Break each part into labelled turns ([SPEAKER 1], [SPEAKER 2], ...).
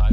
[SPEAKER 1] I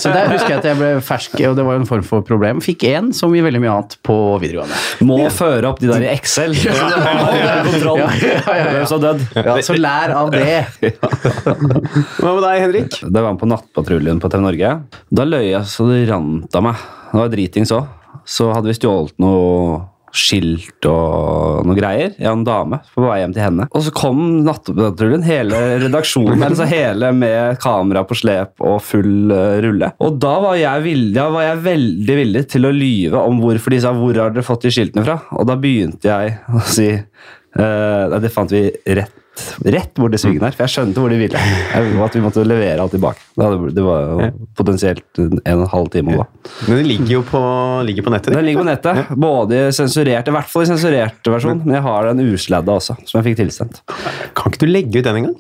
[SPEAKER 2] Så der husker jeg at jeg ble fersk, og det var jo en form for problem. Fikk én, som i veldig mye annet, på videregående.
[SPEAKER 3] Må føre opp de der i Excel. Ja, kontroll.
[SPEAKER 2] Ja, ja, ja, ja.
[SPEAKER 3] Hvem som er dødd.
[SPEAKER 2] Ja, så lær av det.
[SPEAKER 4] Hva med deg, Henrik?
[SPEAKER 3] Da jeg var med på Nattpatruljen på TV Norge, da løy jeg så det rant av meg. Det var dritings òg. Så hadde vi stjålet noe skilt og noe greier. Jeg og en dame på vei hjem til henne. Og så kom Nattpatruljen, hele redaksjonen, altså hele med kamera på slep og full eh, rulle. Og da var jeg, villig, da var jeg veldig villig til å lyve om hvorfor de sa 'hvor har dere fått de skiltene fra?' Og da begynte jeg å si eh, Nei, det fant vi rett rett hvor det svingen er, for jeg skjønte hvor de ville. Jeg, at vi måtte levere alt tilbake. Da hadde- Det var jo potensielt en og en halv time å gå.
[SPEAKER 4] Men den ligger jo på, ligger på nettet.
[SPEAKER 3] Den ligger på nettet, både i sensurert, i hvert fall i sensurert versjon, men jeg har den usladda også, som jeg fikk tilsendt.
[SPEAKER 4] Kan ikke du legge ut den engang?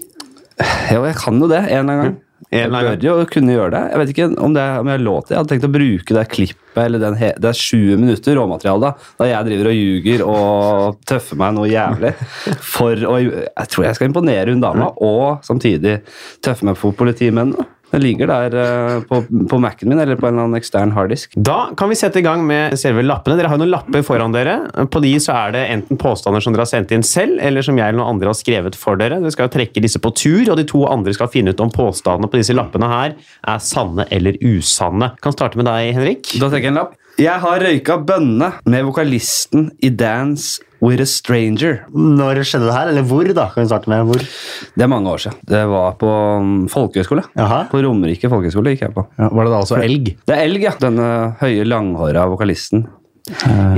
[SPEAKER 3] Jo, jeg kan jo det, en eller annen gang.
[SPEAKER 4] Mm. En
[SPEAKER 3] Jeg
[SPEAKER 4] eller annen
[SPEAKER 3] bør jo kunne gjøre det. Jeg vet ikke om, det, er- om jeg har lov til. Jeg hadde tenkt å bruke det klippet, eller den he det er 20 minutter råmateriale, da, da jeg driver og ljuger og tøffer meg noe jævlig. For å, jeg tror jeg skal imponere hun dama,
[SPEAKER 4] Mm.
[SPEAKER 3] og samtidig tøffe meg for politimennene. Den ligger der eh, på, på Mac-en min, eller på en eller annen ekstern harddisk.
[SPEAKER 4] Da kan vi sette i gang med selve lappene. Dere har jo noen lapper foran dere. På de så er det enten påstander som dere har sendt inn selv, eller som jeg eller noen andre har skrevet for dere. Dere skal jo trekke disse på tur, og de to andre skal finne ut om påstandene på disse lappene her er sanne eller usanne. Kan starte med deg, Henrik.
[SPEAKER 3] Da trekker jeg en lapp. Jeg har røyka bønne med vokalisten i Dance With A Stranger.
[SPEAKER 5] Når skjedde det her? Eller hvor, da? Kan vi starte med hvor?
[SPEAKER 3] Det er mange år siden. Det var på mm, folkehøyskole.
[SPEAKER 5] Jaha.
[SPEAKER 3] På Romerike folkehøyskole gikk jeg på.
[SPEAKER 2] Ja, var det da altså elg?
[SPEAKER 3] Det er Elg, ja. Denne høye, langhåra vokalisten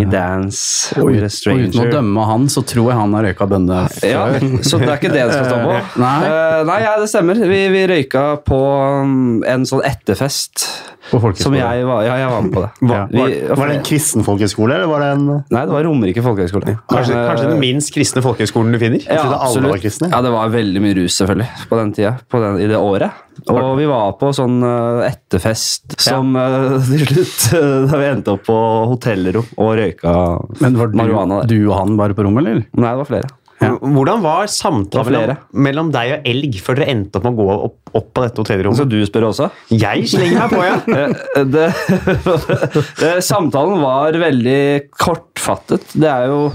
[SPEAKER 3] i Dance
[SPEAKER 2] Eh. Og,
[SPEAKER 3] With A
[SPEAKER 2] ut, og uten å
[SPEAKER 3] Stranger.
[SPEAKER 2] dømme han, så tror jeg han har røyka bønne før.
[SPEAKER 3] Ja, så det er ikke det det skal stå på.
[SPEAKER 2] Nei.
[SPEAKER 3] Eh, nei ja, det stemmer. Vi, vi røyka på mm, en sånn etterfest.
[SPEAKER 2] På folkehøyskole.
[SPEAKER 3] Som jeg var, ja, jeg var med på det.
[SPEAKER 2] Hva-
[SPEAKER 3] Vi,
[SPEAKER 5] Var det en kristen folkehøyskole, eller var det en
[SPEAKER 3] Nei, det var Romerike folkehøgskole.
[SPEAKER 4] Kanskje, kanskje den minst kristne folkehøyskolen du finner?
[SPEAKER 5] Jeg trodde alle var kristne.
[SPEAKER 3] Ja, det var veldig mye rus selvfølgelig på den tida, på den, i det året. Og vi var på sånn eh, etterfest som eh, til slutt eh, Da vi endte opp på hotellrom og røyka
[SPEAKER 2] Men var
[SPEAKER 3] marihuana
[SPEAKER 2] du,
[SPEAKER 3] der.
[SPEAKER 2] du og han bare på rommet, eller?
[SPEAKER 3] Nei, det var flere.
[SPEAKER 4] Hvordan var samtalen
[SPEAKER 3] Det var
[SPEAKER 4] mellom,
[SPEAKER 3] flere.
[SPEAKER 4] mellom deg og elg før dere endte opp med å gå opp, opp på dette
[SPEAKER 3] Skal
[SPEAKER 4] hotellrommet?
[SPEAKER 3] du spørre også?
[SPEAKER 4] Jeg slenger meg på, ja.
[SPEAKER 3] Eh, det, det, samtalen var eh, veldig kort kortfattet. Det er jo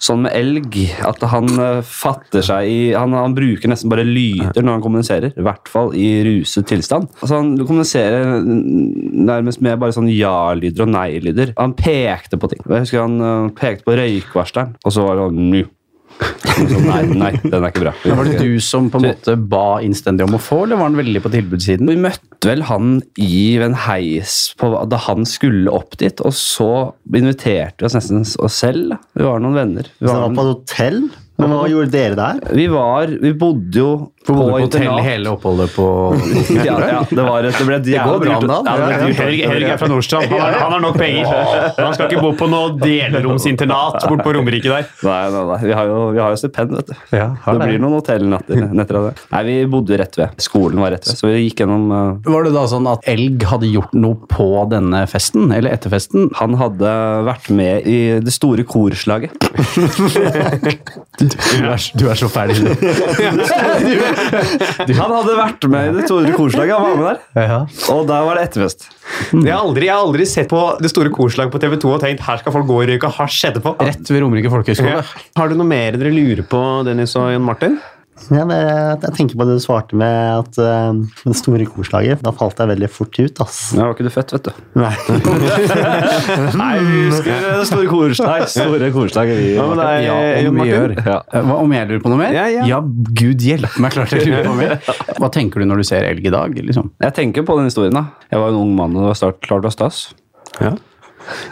[SPEAKER 3] sånn med elg at han eh, fatter seg i han, han bruker nesten bare lyder når han kommuniserer. I hvert fall i ruset tilstand. Altså Han kommuniserer n- nærmest med bare sånn ja-lyder og nei-lyder. Han pekte på ting. Jeg husker han eh, pekte på røykvarsleren, og så var det sånn nu. Så nei, nei, den er ikke bra.
[SPEAKER 2] Men Var det du som på en måte ba innstendig om å få, eller var han veldig på tilbudssiden?
[SPEAKER 3] Vi møtte vel han i en heis på, da han skulle opp dit, og så inviterte vi oss nesten oss selv. da. Vi var noen venner. Vi
[SPEAKER 5] Så det
[SPEAKER 3] var,
[SPEAKER 5] var på et hotell? Men hva gjorde dere der?
[SPEAKER 3] vi, var, vi bodde jo på, internat.
[SPEAKER 2] hele oppholdet på
[SPEAKER 3] ja, ja, det, var et, det ble et jævla
[SPEAKER 5] går bra om
[SPEAKER 3] dyrt.
[SPEAKER 5] dagen.
[SPEAKER 3] Ja, det ble dyrt.
[SPEAKER 4] Helg, Helg er fra Nordstrand. Han, har- han har nok penger. Han skal ikke bo på noe delromsinternat bort på Romerike der.
[SPEAKER 3] Nei, nei, nei. Vi har jo, vi har jo stipend, vet du.
[SPEAKER 4] Ja, har
[SPEAKER 3] det
[SPEAKER 4] det.
[SPEAKER 3] blir noen hotellnetter netter av det. Nei, vi bodde rett ved. Skolen var rett ved, så vi gikk gjennom eh,
[SPEAKER 2] Var det da sånn at Elg hadde gjort noe på denne festen, eller etter festen?
[SPEAKER 3] Han hadde vært med i det store korslaget.
[SPEAKER 2] Du er, du er så ferdig.
[SPEAKER 3] Han hadde vært med i det store korslaget, han var med der.
[SPEAKER 2] Ja.
[SPEAKER 3] Og der var det etterfest.
[SPEAKER 4] Jeg har aldri, jeg har aldri sett på Det store korslaget på TV 2 og tenkt her skal folk gå og røyke hasj etterpå.
[SPEAKER 2] Rett ved Romerike folkehøgskole.
[SPEAKER 4] Ja. Har du noe mer dere lurer på, Dennis og Jan Martin?
[SPEAKER 5] Ja, men jeg, jeg tenker på det du svarte med at eh, det store korslaget. Da falt jeg veldig fort ut, ass.
[SPEAKER 3] Nå var ikke du født, vet du.
[SPEAKER 5] Nei.
[SPEAKER 3] Nei, vi husker det store korslag. Store korslag vi
[SPEAKER 4] men det er-
[SPEAKER 2] Ja,
[SPEAKER 4] Jon
[SPEAKER 2] om vi gjør.
[SPEAKER 4] Martin?
[SPEAKER 3] Ja.
[SPEAKER 2] Eh, Hva, om jeg lurer på noe mer?
[SPEAKER 4] Ja, ja.
[SPEAKER 2] gud hjelpe meg, klart jeg lurer på mer. Hva tenker du når du ser elg i dag? liksom?
[SPEAKER 3] Jeg tenker på den historien. da. Jeg var en ung mann og det var snart klart å stas.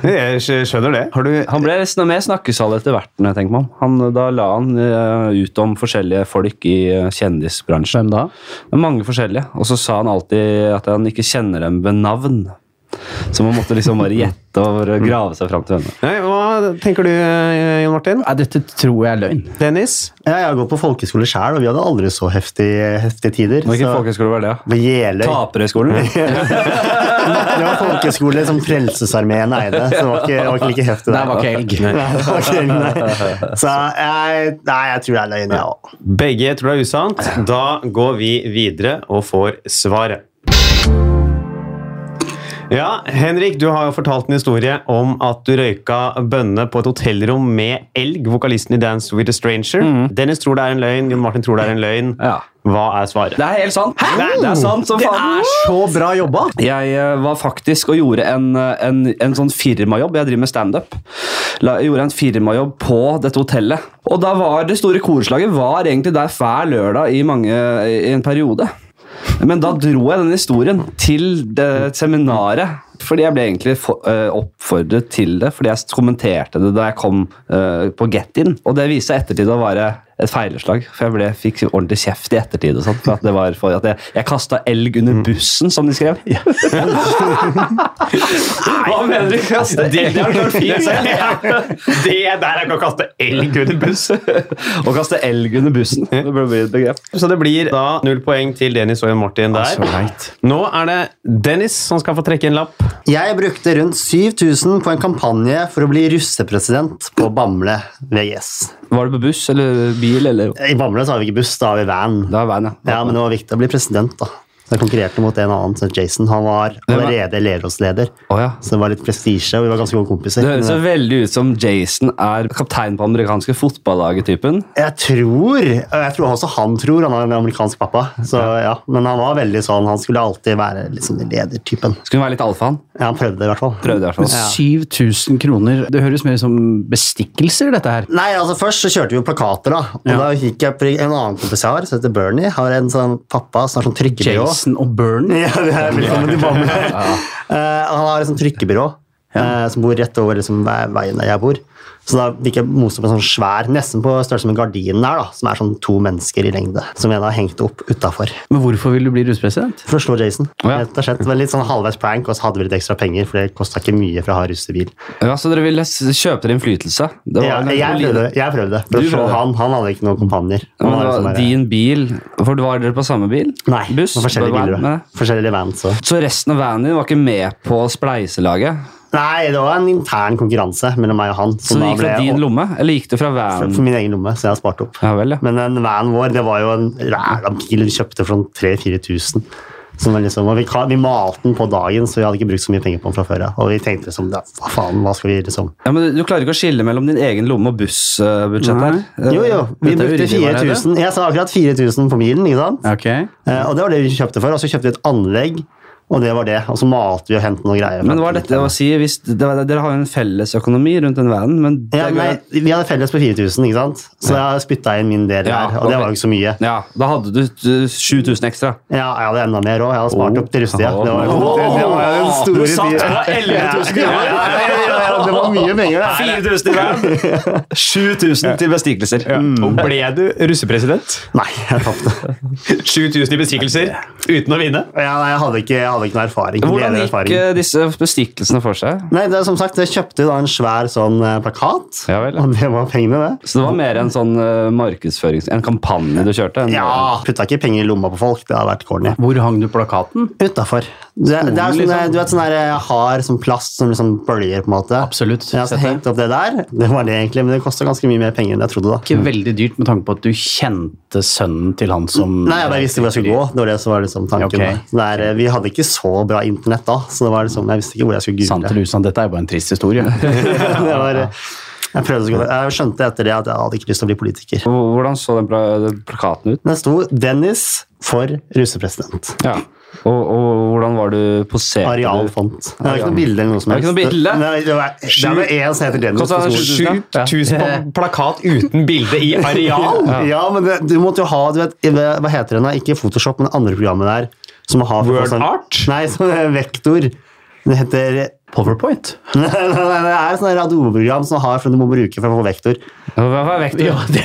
[SPEAKER 4] Jeg skj- skjønner det. Har du
[SPEAKER 3] Han ble nesten mer snakkesal etter hvert. når jeg tenker meg om. Han, da la han eh, ut om forskjellige folk i eh, kjendisbransjen.
[SPEAKER 2] Hvem da?
[SPEAKER 3] Det er Mange forskjellige. Og så sa han alltid at han ikke kjenner dem ved navn. Så man måtte liksom bare gjette og grave seg fram til henne.
[SPEAKER 4] Nei, Hva tenker du, eh, Jon Martin?
[SPEAKER 2] Nei, dette tror jeg er løgn.
[SPEAKER 4] Dennis?
[SPEAKER 5] Ja, jeg har gått på folkeskole sjæl, og vi hadde aldri så heftige, heftige tider.
[SPEAKER 3] Men hvilken
[SPEAKER 5] så-
[SPEAKER 3] folkehøyskole var det? da?
[SPEAKER 5] På Jeløy.
[SPEAKER 3] Taperhøgskolen?
[SPEAKER 5] Det var folkeskole som Frelsesarmeen eide, så det var ikke, det var ikke like heftig.
[SPEAKER 2] Der var ikke elg.
[SPEAKER 5] Nei, det var ikke elg, nei. Så jeg, nei, jeg tror det er løgn, jeg ja. òg.
[SPEAKER 4] Begge tror det er usant. Da går vi videre og får svaret. Ja, Henrik, du har jo fortalt en historie om at du røyka bønne på et hotellrom med Elg, vokalisten i Dance with a Stranger. Dennis tror det er en løgn, Jon Martin tror det er en løgn.
[SPEAKER 3] Ja.
[SPEAKER 4] Hva er svaret?
[SPEAKER 3] Det er helt sant! Det, det er sant som faen!
[SPEAKER 5] Så bra jobba!
[SPEAKER 3] Jeg eh, var faktisk og gjorde en, eh, en, en sånn firmajobb. Jeg driver med standup. La- Jeg gjorde en firmajobb på dette hotellet. Og da var det store korslaget var egentlig der hver lørdag i, mange, i en periode. Men da dro jeg den historien til det seminaret. Fordi jeg ble egentlig fo- eh, oppfordret til det, fordi jeg kommenterte det da jeg kom eh, på Get In. Og det viste seg i ettertid å være et feileslag, for jeg ble, fikk ordentlig kjeft i ettertid. og sånt, for at det var for at Jeg, jeg kasta elg under bussen, som de skrev. Hva mener du? Kaste elg? Det er klart fint, sa jeg.
[SPEAKER 4] Det der er ikke å kaste elg under buss!
[SPEAKER 3] Å kaste elg under bussen. Det burde bli et begrep.
[SPEAKER 4] Så det blir da null poeng til Dennis og Jon Martin der.
[SPEAKER 2] Så leit.
[SPEAKER 4] Nå er det Dennis som skal få trekke en lapp.
[SPEAKER 5] Jeg brukte rundt 7000 på en kampanje for å bli russepresident på Bamble VGS.
[SPEAKER 3] Var det på buss eller bil eller
[SPEAKER 5] I Bamble så har vi ikke buss, da har vi van.
[SPEAKER 3] Det er veien,
[SPEAKER 5] Ja, men det var viktig å bli president, da. Så jeg konkurrerte mot en annen, som Jason. Han var allerede elevrådsleder,
[SPEAKER 3] Å, ja.
[SPEAKER 5] så det var litt prestisje, og vi var ganske gode kompiser.
[SPEAKER 3] Det høres jo veldig ut som Jason er kaptein på amerikanske fotballaget-typen.
[SPEAKER 5] Jeg tror Jeg tror også han tror han har en amerikansk pappa. Så ja, Men han var veldig sånn Han skulle alltid være liksom ledertypen.
[SPEAKER 3] Skulle være litt alfa, han.
[SPEAKER 5] Ja, han prøvde det, i hvert fall.
[SPEAKER 3] Prøvde i hvert fall.
[SPEAKER 2] 7000 kroner. Det høres mer ut som bestikkelser, dette her.
[SPEAKER 5] Nei, altså Først så kjørte vi jo plakater, da. Og da gikk jeg på en annen kompis jeg har, som heter Bernie, har en sånn pappa som har sånn trykkebyrå.
[SPEAKER 2] Jason og Bernie.
[SPEAKER 5] Ja, det er sånn, velkommen til Bamble. Eh, han har et sånt trykkebyrå eh, som bor rett over liksom, ve- veien der jeg bor. Så da fikk jeg mose opp en sånn svær, nesten på størrelse med gardinen der, da, som er sånn to mennesker i lengde. Som en har hengt opp utafor.
[SPEAKER 2] Men hvorfor vil du bli russepresident?
[SPEAKER 5] For å slå Jason.
[SPEAKER 3] Ja.
[SPEAKER 5] Rett og slett. Det var litt sånn halvveis prank, og så hadde vi litt ekstra penger, for det kosta ikke mye for å ha russebil.
[SPEAKER 3] Ja, så dere ville s- kjøpe dere innflytelse? Det
[SPEAKER 5] Ja,
[SPEAKER 3] kanskje
[SPEAKER 5] jeg
[SPEAKER 3] på
[SPEAKER 5] prøvde,
[SPEAKER 3] linje-
[SPEAKER 5] jeg prøvde for
[SPEAKER 3] Du
[SPEAKER 5] å slå
[SPEAKER 3] prøvde.
[SPEAKER 5] han. Han hadde ikke noen kompanjer. Han
[SPEAKER 3] Men
[SPEAKER 5] var
[SPEAKER 3] det
[SPEAKER 5] liksom
[SPEAKER 3] var
[SPEAKER 5] bare-
[SPEAKER 3] din bil For var dere på samme bil?
[SPEAKER 5] Nei,
[SPEAKER 3] Buss?
[SPEAKER 5] det var forskjellige
[SPEAKER 3] Van?
[SPEAKER 5] biler.
[SPEAKER 3] Nei.
[SPEAKER 5] da. Forskjellige vans og
[SPEAKER 3] Så resten av vanen din var ikke med på spleiselaget?
[SPEAKER 5] Nei, det var en intern konkurranse mellom meg og han.
[SPEAKER 3] Så
[SPEAKER 5] som
[SPEAKER 3] det
[SPEAKER 5] da
[SPEAKER 3] gikk fra
[SPEAKER 5] ble-
[SPEAKER 3] din lomme? Eller gikk det fra
[SPEAKER 5] for,
[SPEAKER 3] vanen?
[SPEAKER 5] for min egen lomme, så jeg har spart opp.
[SPEAKER 3] Ja vel, ja.
[SPEAKER 5] Men den vanen vår, det var jo en ræla bil vi kjøpte for sånn 3000-4000. Som er liksom, og vi, ka- vi malte den på dagen, så vi hadde ikke brukt så mye penger på den fra før. Ja. Og vi tenkte liksom, ja, hva faen, hva skal vi liksom
[SPEAKER 3] Ja, men du klarer ikke å skille mellom din egen lomme og bussbudsjett her. Eh,
[SPEAKER 5] Jo, jo, vi
[SPEAKER 2] Dette
[SPEAKER 5] brukte
[SPEAKER 2] er uryddig, var det det?
[SPEAKER 5] 4000. Jeg sa akkurat 4000 på milen, ikke sant?
[SPEAKER 2] Ok.
[SPEAKER 5] Eh, Og det var det vi kjøpte for, og så kjøpte vi et anlegg, og det var det. Og så malte vi og hentet noen greier.
[SPEAKER 3] Men hva er dette å si? Hvis, det, var- dere har jo en felles økonomi rundt den vanen, men det
[SPEAKER 5] Ja,
[SPEAKER 3] går-
[SPEAKER 5] nei, vi hadde felles på 4000, ikke sant? Så jeg spytta inn min del
[SPEAKER 3] Ja,
[SPEAKER 5] her, og det
[SPEAKER 3] ok.
[SPEAKER 5] var jo ikke så mye.
[SPEAKER 3] ja, da hadde du eh, 7000 ekstra.
[SPEAKER 5] Ja, jeg hadde enda mer òg. Jeg hadde spart opp til russetida.
[SPEAKER 3] Oh.
[SPEAKER 5] Det var, det, det var jo den
[SPEAKER 4] Du
[SPEAKER 5] store
[SPEAKER 4] satt
[SPEAKER 5] tida.
[SPEAKER 4] på 11 000
[SPEAKER 5] Ja,
[SPEAKER 4] kroner!
[SPEAKER 5] ja, ja, ja, ja, Det var mye penger, det.
[SPEAKER 4] 4000 i verden!
[SPEAKER 3] 7000 til bestikkelser.
[SPEAKER 4] Og ble du russepresident?
[SPEAKER 5] Nei, jeg tapte.
[SPEAKER 4] 7000 i bestikkelser uten å vinne?
[SPEAKER 5] Ja, nei, jeg, hadde ikke- jeg hadde ikke noe erfaring.
[SPEAKER 3] Hvordan
[SPEAKER 5] Leder
[SPEAKER 3] gikk
[SPEAKER 5] erfaring.
[SPEAKER 3] eh, disse bestikkelsene for seg?
[SPEAKER 5] Nei, det, er som sagt, Jeg kjøpte da en svær sånn eh, plakat,
[SPEAKER 3] Ja vel.
[SPEAKER 5] og det var pengene, det.
[SPEAKER 3] Så det var mer en sånn eh, markedsførings... En kampanje du kjørte? En,
[SPEAKER 5] Ja, Putta ikke penger i lomma på folk. Det hadde vært corny.
[SPEAKER 2] Hvor hang du plakaten?
[SPEAKER 5] Utafor. Det, det er
[SPEAKER 2] Skolen,
[SPEAKER 5] sånn,
[SPEAKER 2] liksom?
[SPEAKER 5] du vet sånn der, eh, hard sånn plast som liksom bølger, på en måte.
[SPEAKER 2] Absolutt.
[SPEAKER 5] Jeg har
[SPEAKER 2] Sett det.
[SPEAKER 5] hengt opp det der. Det var det egentlig, men det kosta ganske mye mer penger enn jeg trodde. da.
[SPEAKER 2] Ikke veldig dyrt med tanke på at du kjente sønnen til han som
[SPEAKER 5] Nei, jeg bare visste hvor jeg skulle gå. Det var det som var liksom tanken.
[SPEAKER 2] Ok.
[SPEAKER 5] da. Så Det er, eh, vi hadde ikke så bra internett da, så det var liksom, jeg visste ikke hvor jeg skulle
[SPEAKER 2] Sant
[SPEAKER 5] google.
[SPEAKER 2] eller usant, dette er jo bare en trist historie.
[SPEAKER 5] det var, eh, jeg, prøvde så godt. jeg skjønte etter det at jeg hadde ikke lyst til å bli politiker.
[SPEAKER 3] Hvor- Hvordan så den pla- den plakaten ut?
[SPEAKER 5] Men det sto 'Dennis for russepresident'.
[SPEAKER 3] Ja. Og, og hvordan var du posert?
[SPEAKER 5] Arealfont. Det var ikke noe bilde eller noe
[SPEAKER 3] Det
[SPEAKER 5] som
[SPEAKER 3] var ikke noe
[SPEAKER 5] helst.
[SPEAKER 3] bilde?
[SPEAKER 5] Nei, Det var- det er bare én som heter Dennis.
[SPEAKER 3] Kosta
[SPEAKER 5] på skolen.
[SPEAKER 4] 7000 på plakat uten bilde i areal!
[SPEAKER 5] Ja, men det, du måtte jo ha du vet, i- Hva heter den da? Ikke Photoshop, men det andre programmet der. Som har
[SPEAKER 4] Word art?
[SPEAKER 5] Nei, som er vektor. Det heter
[SPEAKER 2] Powerpoint.
[SPEAKER 5] Nei, nei, nei, det er et sånt radioprogram som har for du må bruke for å få vektor.
[SPEAKER 3] Hva var vekten?
[SPEAKER 5] Det,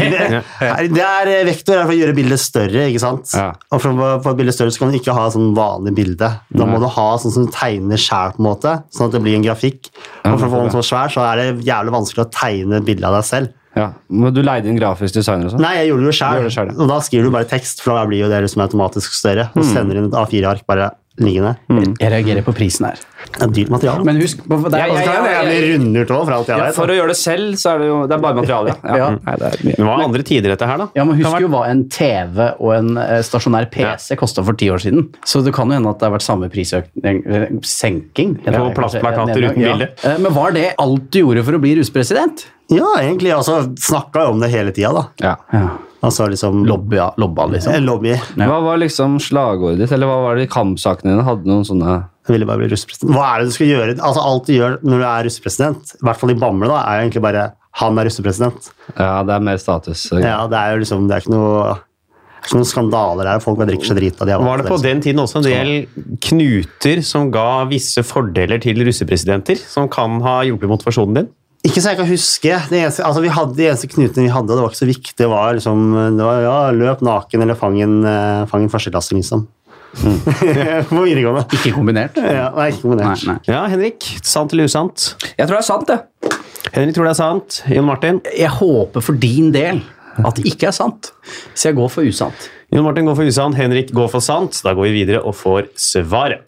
[SPEAKER 5] det er eh, Vektor er for å gjøre bildet større, ikke sant?
[SPEAKER 3] Ja.
[SPEAKER 5] Og for å få et bilde større så kan du ikke ha sånn vanlig bilde. Da må du ha sånn som du tegner sjæl, på en måte, sånn at det blir en grafikk. Og for å få den så svær, så er det jævlig vanskelig å tegne et bilde av deg selv.
[SPEAKER 3] Ja. Men du leide inn grafisk designer og sånn?
[SPEAKER 5] Nei, jeg gjorde
[SPEAKER 3] Du
[SPEAKER 5] det jo
[SPEAKER 3] gjorde det
[SPEAKER 5] sjæl,
[SPEAKER 3] selv, ja. Mm.
[SPEAKER 5] og da skriver du bare tekst, for da blir jo det liksom automatisk større. Og sender inn et A4-ark bare liggende.
[SPEAKER 2] Jeg reagerer på prisen her.
[SPEAKER 5] Det er dyrt materiale. Altså,
[SPEAKER 2] Men husk det er,
[SPEAKER 3] Ja, ja,
[SPEAKER 5] det
[SPEAKER 3] ja.
[SPEAKER 5] er jævlig rundlurt òg, for alt jeg
[SPEAKER 3] Ja,
[SPEAKER 5] vet.
[SPEAKER 3] for å gjøre det selv, så er det jo det er bare materiale. Ja.
[SPEAKER 2] Ja.
[SPEAKER 3] Mm. Nei, det er mye.
[SPEAKER 4] Det var andre tider, dette her, da.
[SPEAKER 2] Ja, men Husk jo hva en TV og en eh, stasjonær PC kosta for ti år siden. Så det kan jo hende at det har vært samme prisøkning eh, Senking.
[SPEAKER 4] På
[SPEAKER 2] heter det kanskje,
[SPEAKER 4] plastplakater
[SPEAKER 2] nedgang.
[SPEAKER 4] uten
[SPEAKER 2] Ja.
[SPEAKER 4] bilde.
[SPEAKER 2] Eh, Men var det alt du gjorde for å bli ruspresident?
[SPEAKER 5] Ja, egentlig. Altså, snakka jo om det hele tida, da.
[SPEAKER 3] Ja.
[SPEAKER 2] Ja.
[SPEAKER 5] Altså liksom
[SPEAKER 2] Lobby, ja, lobba, liksom.
[SPEAKER 5] Eh, Lobby.
[SPEAKER 3] Hva var liksom slagordet ditt, eller hva var det i kampsakene dine? Hadde noen sånne
[SPEAKER 5] Jeg ville bare bli russepresident. Hva er det du skal gjøre? Altså, alt du gjør når du er russepresident, i hvert fall i Bamble, da, er jo egentlig bare han er russepresident.
[SPEAKER 3] Ja, det er mer status.
[SPEAKER 5] Ja, det er jo liksom, det er ikke noe, det er ikke noen skandaler her. Folk bare drikker seg drita. De er vant
[SPEAKER 4] Var det på
[SPEAKER 5] til
[SPEAKER 4] den tiden også en del knuter som ga visse fordeler til russepresidenter? Som kan ha hjulpet motivasjonen din?
[SPEAKER 5] Ikke så jeg kan huske. Det eneste, altså vi hadde, de eneste knutene vi hadde, og det var ikke så viktig, det var liksom det var, ja, løp naken eller fang en, eh, fang en førsteklassing, liksom. på videregående.
[SPEAKER 2] Ikke kombinert.
[SPEAKER 5] Ja, nei, ikke kombinert.
[SPEAKER 2] Nei, nei.
[SPEAKER 4] Ja, Henrik. Sant eller usant?
[SPEAKER 3] Jeg tror det er sant, det.
[SPEAKER 4] Henrik tror det er sant. Jon Martin?
[SPEAKER 2] Jeg håper for din del at det ikke er sant, så jeg går for usant.
[SPEAKER 4] Jon Martin går for usant, Henrik går for sant. Da går vi videre og får svaret.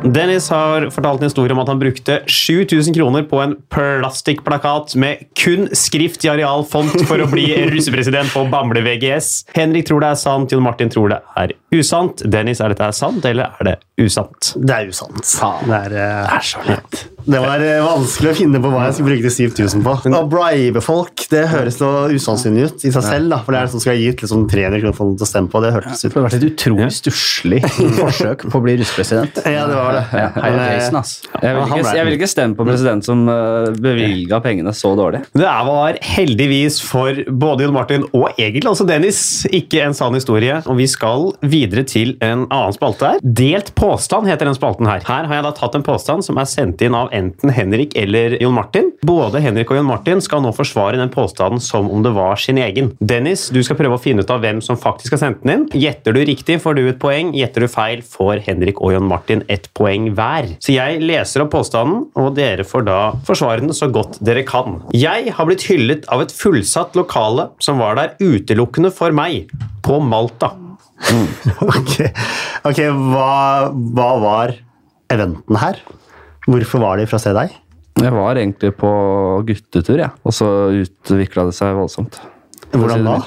[SPEAKER 4] Dennis har fortalt en historie om at han brukte 7000 kroner på en plastikkplakat med kun skrift i arealfont for å bli russepresident på Bamble VGS. Henrik tror det er sant, Jon Martin tror det er usant. Dennis, er dette sant, eller er det usant?
[SPEAKER 5] Det er usant. Det er, eh,
[SPEAKER 2] er så lett.
[SPEAKER 5] det var eh, vanskelig å finne på hva jeg skulle bruke de 7000 på. Å bribe folk det høres noe usannsynlig ut i seg selv. da, For det er sånn skal jeg gi ut liksom 300 kroner for noen til å stemme på. Det hørtes ut
[SPEAKER 2] For det har vært et utrolig stusslig forsøk på å bli russepresident.
[SPEAKER 5] Ja, det var det.
[SPEAKER 2] Ja, Heia
[SPEAKER 5] Men, eh,
[SPEAKER 2] Jason, ass.
[SPEAKER 3] Jeg vil,
[SPEAKER 5] Han
[SPEAKER 3] ikke,
[SPEAKER 5] ble-
[SPEAKER 3] jeg vil ikke stemme på en president som uh, bevilga pengene så dårlig.
[SPEAKER 4] Det er- var heldigvis for både Jon Martin og egentlig også Dennis ikke en sann historie. Og vi skal videre til en annen spalte her. Delt påstand heter den spalten her. Her har jeg da tatt en påstand som er sendt inn av enten Henrik eller Jon Martin. Både Henrik og Jon Martin skal nå forsvare den påstanden som om det var sin egen. Dennis, du skal prøve å finne ut av hvem som faktisk har sendt den inn. Gjetter du riktig, får du et poeng. Gjetter du feil, får Henrik og Jon Martin ett poeng hver. Så jeg leser opp påstanden, og dere får da forsvare den så godt dere kan. Jeg har blitt hyllet av et fullsatt lokale som var der utelukkende for meg, på Malta.
[SPEAKER 5] Ok, Ok, hva, hva var eventen her? Hvorfor var de fra Se deg?
[SPEAKER 3] Jeg var egentlig på guttetur, jeg. og så utvikla det seg voldsomt.
[SPEAKER 5] Hvordan da?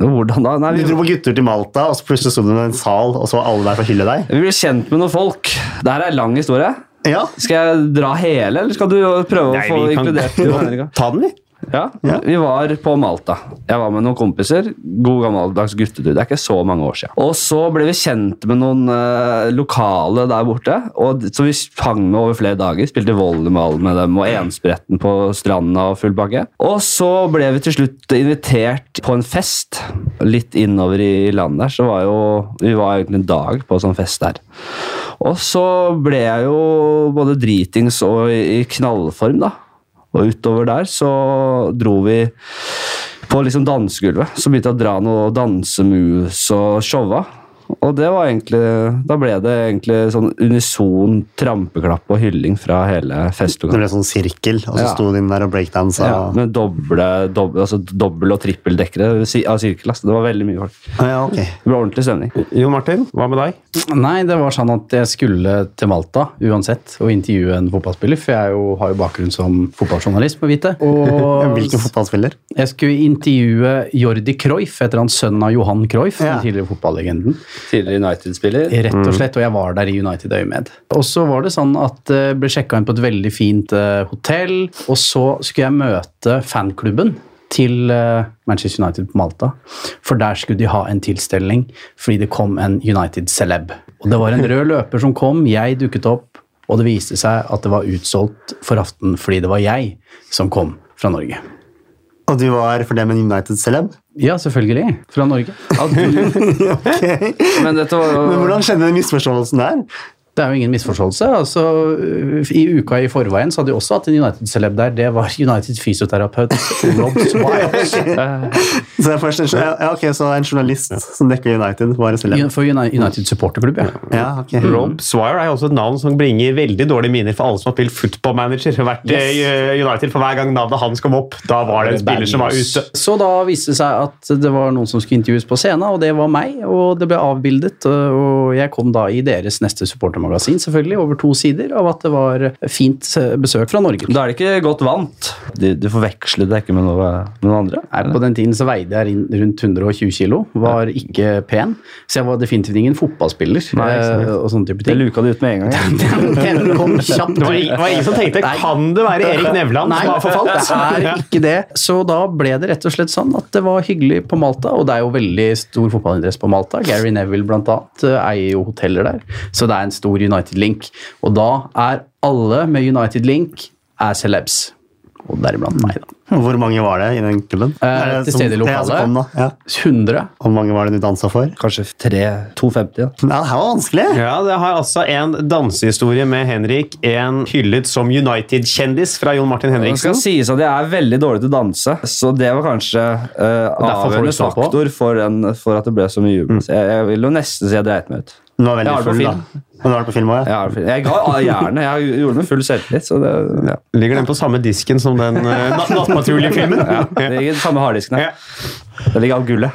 [SPEAKER 3] Hvordan da? Nei,
[SPEAKER 5] Du
[SPEAKER 3] vi,
[SPEAKER 5] dro på guttetur til Malta, og så plutselig sto du i en sal, og så var alle der for å hylle deg.
[SPEAKER 3] vi ble kjent med noen folk. Det her er en lang historie.
[SPEAKER 5] Ja,
[SPEAKER 3] Skal jeg dra hele, eller skal du prøve
[SPEAKER 4] Nei,
[SPEAKER 3] å få
[SPEAKER 4] vi kan
[SPEAKER 3] inkludert Johan Henrik?
[SPEAKER 4] ta den, vi.
[SPEAKER 3] Ja,
[SPEAKER 5] Ja.
[SPEAKER 3] vi var på Malta. Jeg var med noen kompiser. God gammeldags guttetur. Det er ikke så mange år siden. Og så ble vi kjent med noen eh, lokale der borte, og, d- så vi hang med over flere dager. Spilte volleyball med dem og enspretten på stranda og full bakke. Og så ble vi til slutt invitert på en fest litt innover i landet der. Så var jo, vi var egentlig en dag på sånn fest der. Og så ble jeg jo både dritings og i i knallform, da. Og utover der så dro vi på liksom dansegulvet. Så begynte jeg å dra noe dansemoves og showa. Og det var egentlig, da ble det egentlig sånn unison trampeklapp og hylling fra hele
[SPEAKER 5] det
[SPEAKER 3] festlokalet.
[SPEAKER 5] ble sånn sirkel, og så
[SPEAKER 3] Ja.
[SPEAKER 5] sto du inn der og breakdansa.
[SPEAKER 3] Ja,
[SPEAKER 5] og-
[SPEAKER 3] med doble, doble, altså dobbel- og trippeldekkere si- av sirkel. ass. Det var veldig mye folk.
[SPEAKER 5] Ja, ok.
[SPEAKER 3] Det ble ordentlig stemning.
[SPEAKER 4] Jon Martin, hva med deg?
[SPEAKER 2] Nei, det var sånn at jeg skulle til Malta uansett og intervjue en fotballspiller, for jeg er jo, har jo bakgrunn som fotballjournalist, må vite. Og
[SPEAKER 5] Hvilken fotballspiller?
[SPEAKER 2] jeg skulle intervjue Jordi Cruyff, etter han sønnen av Johan Cruyff,
[SPEAKER 5] Ja.
[SPEAKER 2] den tidligere fotballegenden.
[SPEAKER 3] Tidligere United-spiller.
[SPEAKER 2] Rett og slett, og jeg var der i United øyemed. Og så var det sånn at jeg ble sjekka inn på et veldig fint eh, hotell, og så skulle jeg møte fanklubben til eh, Manchester United på Malta. For der skulle de ha en tilstelning fordi det kom en United-celeb. Og det var en rød løper som kom, jeg dukket opp, og det viste seg at det var utsolgt for aften fordi det var jeg som kom fra Norge.
[SPEAKER 5] Og du var for dem en United-celeb?
[SPEAKER 2] Ja, selvfølgelig. Fra Norge.
[SPEAKER 3] At du, Men dette var jo
[SPEAKER 5] Men hvordan skjedde den misforståelsen der?
[SPEAKER 2] Det er jo ingen misforståelse. altså øh, I uka i forveien så hadde de også hatt en United-celeb der. Det var United fysioterapeut Rob Swiles.
[SPEAKER 5] Så jeg først, ja, ok, så en journalist som dekker United, var en celeb?
[SPEAKER 2] For Uni- United supporterklubb, ja.
[SPEAKER 5] Ja, ok.
[SPEAKER 4] Rob Swire er jo også et navn som bringer veldig dårlige minner for alle som har spilt football manager. og Vært i eh, United for hver gang navnet hans kom opp. Da var det en spiller som var ute.
[SPEAKER 2] Så da viste det seg at det var noen som skulle intervjues på scenen, og det var meg. Og det ble avbildet, og jeg kom da i deres neste supportermagasin, selvfølgelig, over to sider av at det var fint besøk fra Norge.
[SPEAKER 3] Da er det ikke godt vant. Du, du forvekslet det ikke med noe, med noen andre?
[SPEAKER 2] Nei, på den tiden så veide jeg inn- rundt 120 kilo, var ikke pen, så jeg var definitivt ingen fotballspiller.
[SPEAKER 3] Nei, ikke sant.
[SPEAKER 2] eh, og sånne type
[SPEAKER 3] Det
[SPEAKER 2] ting.
[SPEAKER 3] luka du ut med en gang.
[SPEAKER 2] Den kom kjapt.
[SPEAKER 4] Det var, ing- det var ingen som tenkte
[SPEAKER 2] Nei.
[SPEAKER 4] kan det være Erik Nevland
[SPEAKER 2] Nei,
[SPEAKER 4] som har forfalt?
[SPEAKER 2] det er ikke det. Så da ble det rett og slett sånn at det var hyggelig på Malta, og det er jo veldig stor fotballinteresse på Malta. Gary Neville blant annet eh, eier jo hoteller der, så det er en stor United-link. Og da er alle med United-link er celebs. Og deriblant meg, da.
[SPEAKER 5] Hvor mange var det i den klubben?
[SPEAKER 2] Eh,
[SPEAKER 5] Er det
[SPEAKER 2] til
[SPEAKER 5] som-
[SPEAKER 2] stede i
[SPEAKER 5] det er som kom, da.
[SPEAKER 2] lokalet.
[SPEAKER 5] Ja.
[SPEAKER 2] 100.
[SPEAKER 5] Hvor mange var det du dansa for?
[SPEAKER 3] Kanskje 3-2,50. da.
[SPEAKER 5] Ja, det her var vanskelig.
[SPEAKER 4] Ja, det har altså en dansehistorie med Henrik, en hyllet som United-kjendis fra Jon Martin
[SPEAKER 3] Det
[SPEAKER 4] Henriksen.
[SPEAKER 3] skal sies at jeg er veldig dårlig til å danse, så det var kanskje eh,
[SPEAKER 2] derfor får du
[SPEAKER 3] avgjørende
[SPEAKER 2] stå på.
[SPEAKER 3] faktor for, den, for at det ble så mye jubel. Så Jeg, jeg vil jo nesten si jeg dreit meg ut.
[SPEAKER 5] Den var veldig
[SPEAKER 3] Jeg har det på
[SPEAKER 5] full, da.
[SPEAKER 3] film.
[SPEAKER 5] Men du har det på film også, ja.
[SPEAKER 3] Jeg, er- jeg ga ah, jernet. Jeg gjorde det med full selvtillit. Så det, ja.
[SPEAKER 4] Ligger den på samme disken som den uh, Nattpatrulje-filmen?
[SPEAKER 3] Ja, det ligger i den samme harddisken.
[SPEAKER 4] Ja.
[SPEAKER 3] her. Det ligger av gullet.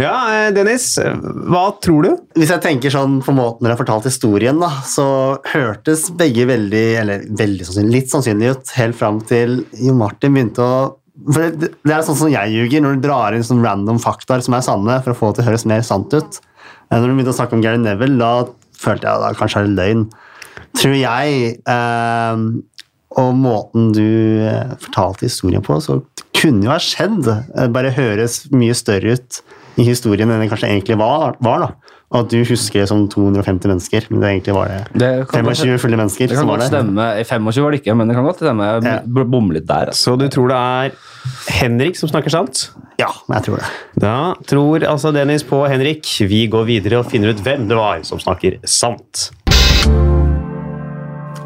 [SPEAKER 4] ja, eh, Dennis, eh, hva tror du?
[SPEAKER 5] Hvis jeg tenker sånn på måten dere har fortalt historien, da, så hørtes begge veldig, eller veldig sannsynlig, litt sannsynlig ut, helt fram til Jo Martin begynte å for det, det er sånn som jeg ljuger, når du drar inn sånn random faktaer som er sanne, for å få det til å høres mer sant ut. Eh, Når du begynte å snakke om Gary Neville, da følte jeg da kanskje er det løgn. Tror jeg eh, Og måten du eh, fortalte historien på, så kunne jo ha skjedd. Eh, Bare høres mye større ut i historien enn det kanskje egentlig var. var da. Og at du husker det som 250 mennesker, men det egentlig var det
[SPEAKER 3] Det kan godt-
[SPEAKER 5] 25 fulle mennesker.
[SPEAKER 3] det kan
[SPEAKER 5] som var
[SPEAKER 3] godt
[SPEAKER 5] der.
[SPEAKER 3] stemme. I 25 var det ikke, men det kan godt stemme.
[SPEAKER 5] Ja.
[SPEAKER 3] Jeg b- bommet litt der. altså.
[SPEAKER 4] Så du tror det er Henrik som snakker sant?
[SPEAKER 5] Ja, jeg tror det.
[SPEAKER 4] Da tror altså Dennis på Henrik. Vi går videre og finner ut hvem det var som snakker sant.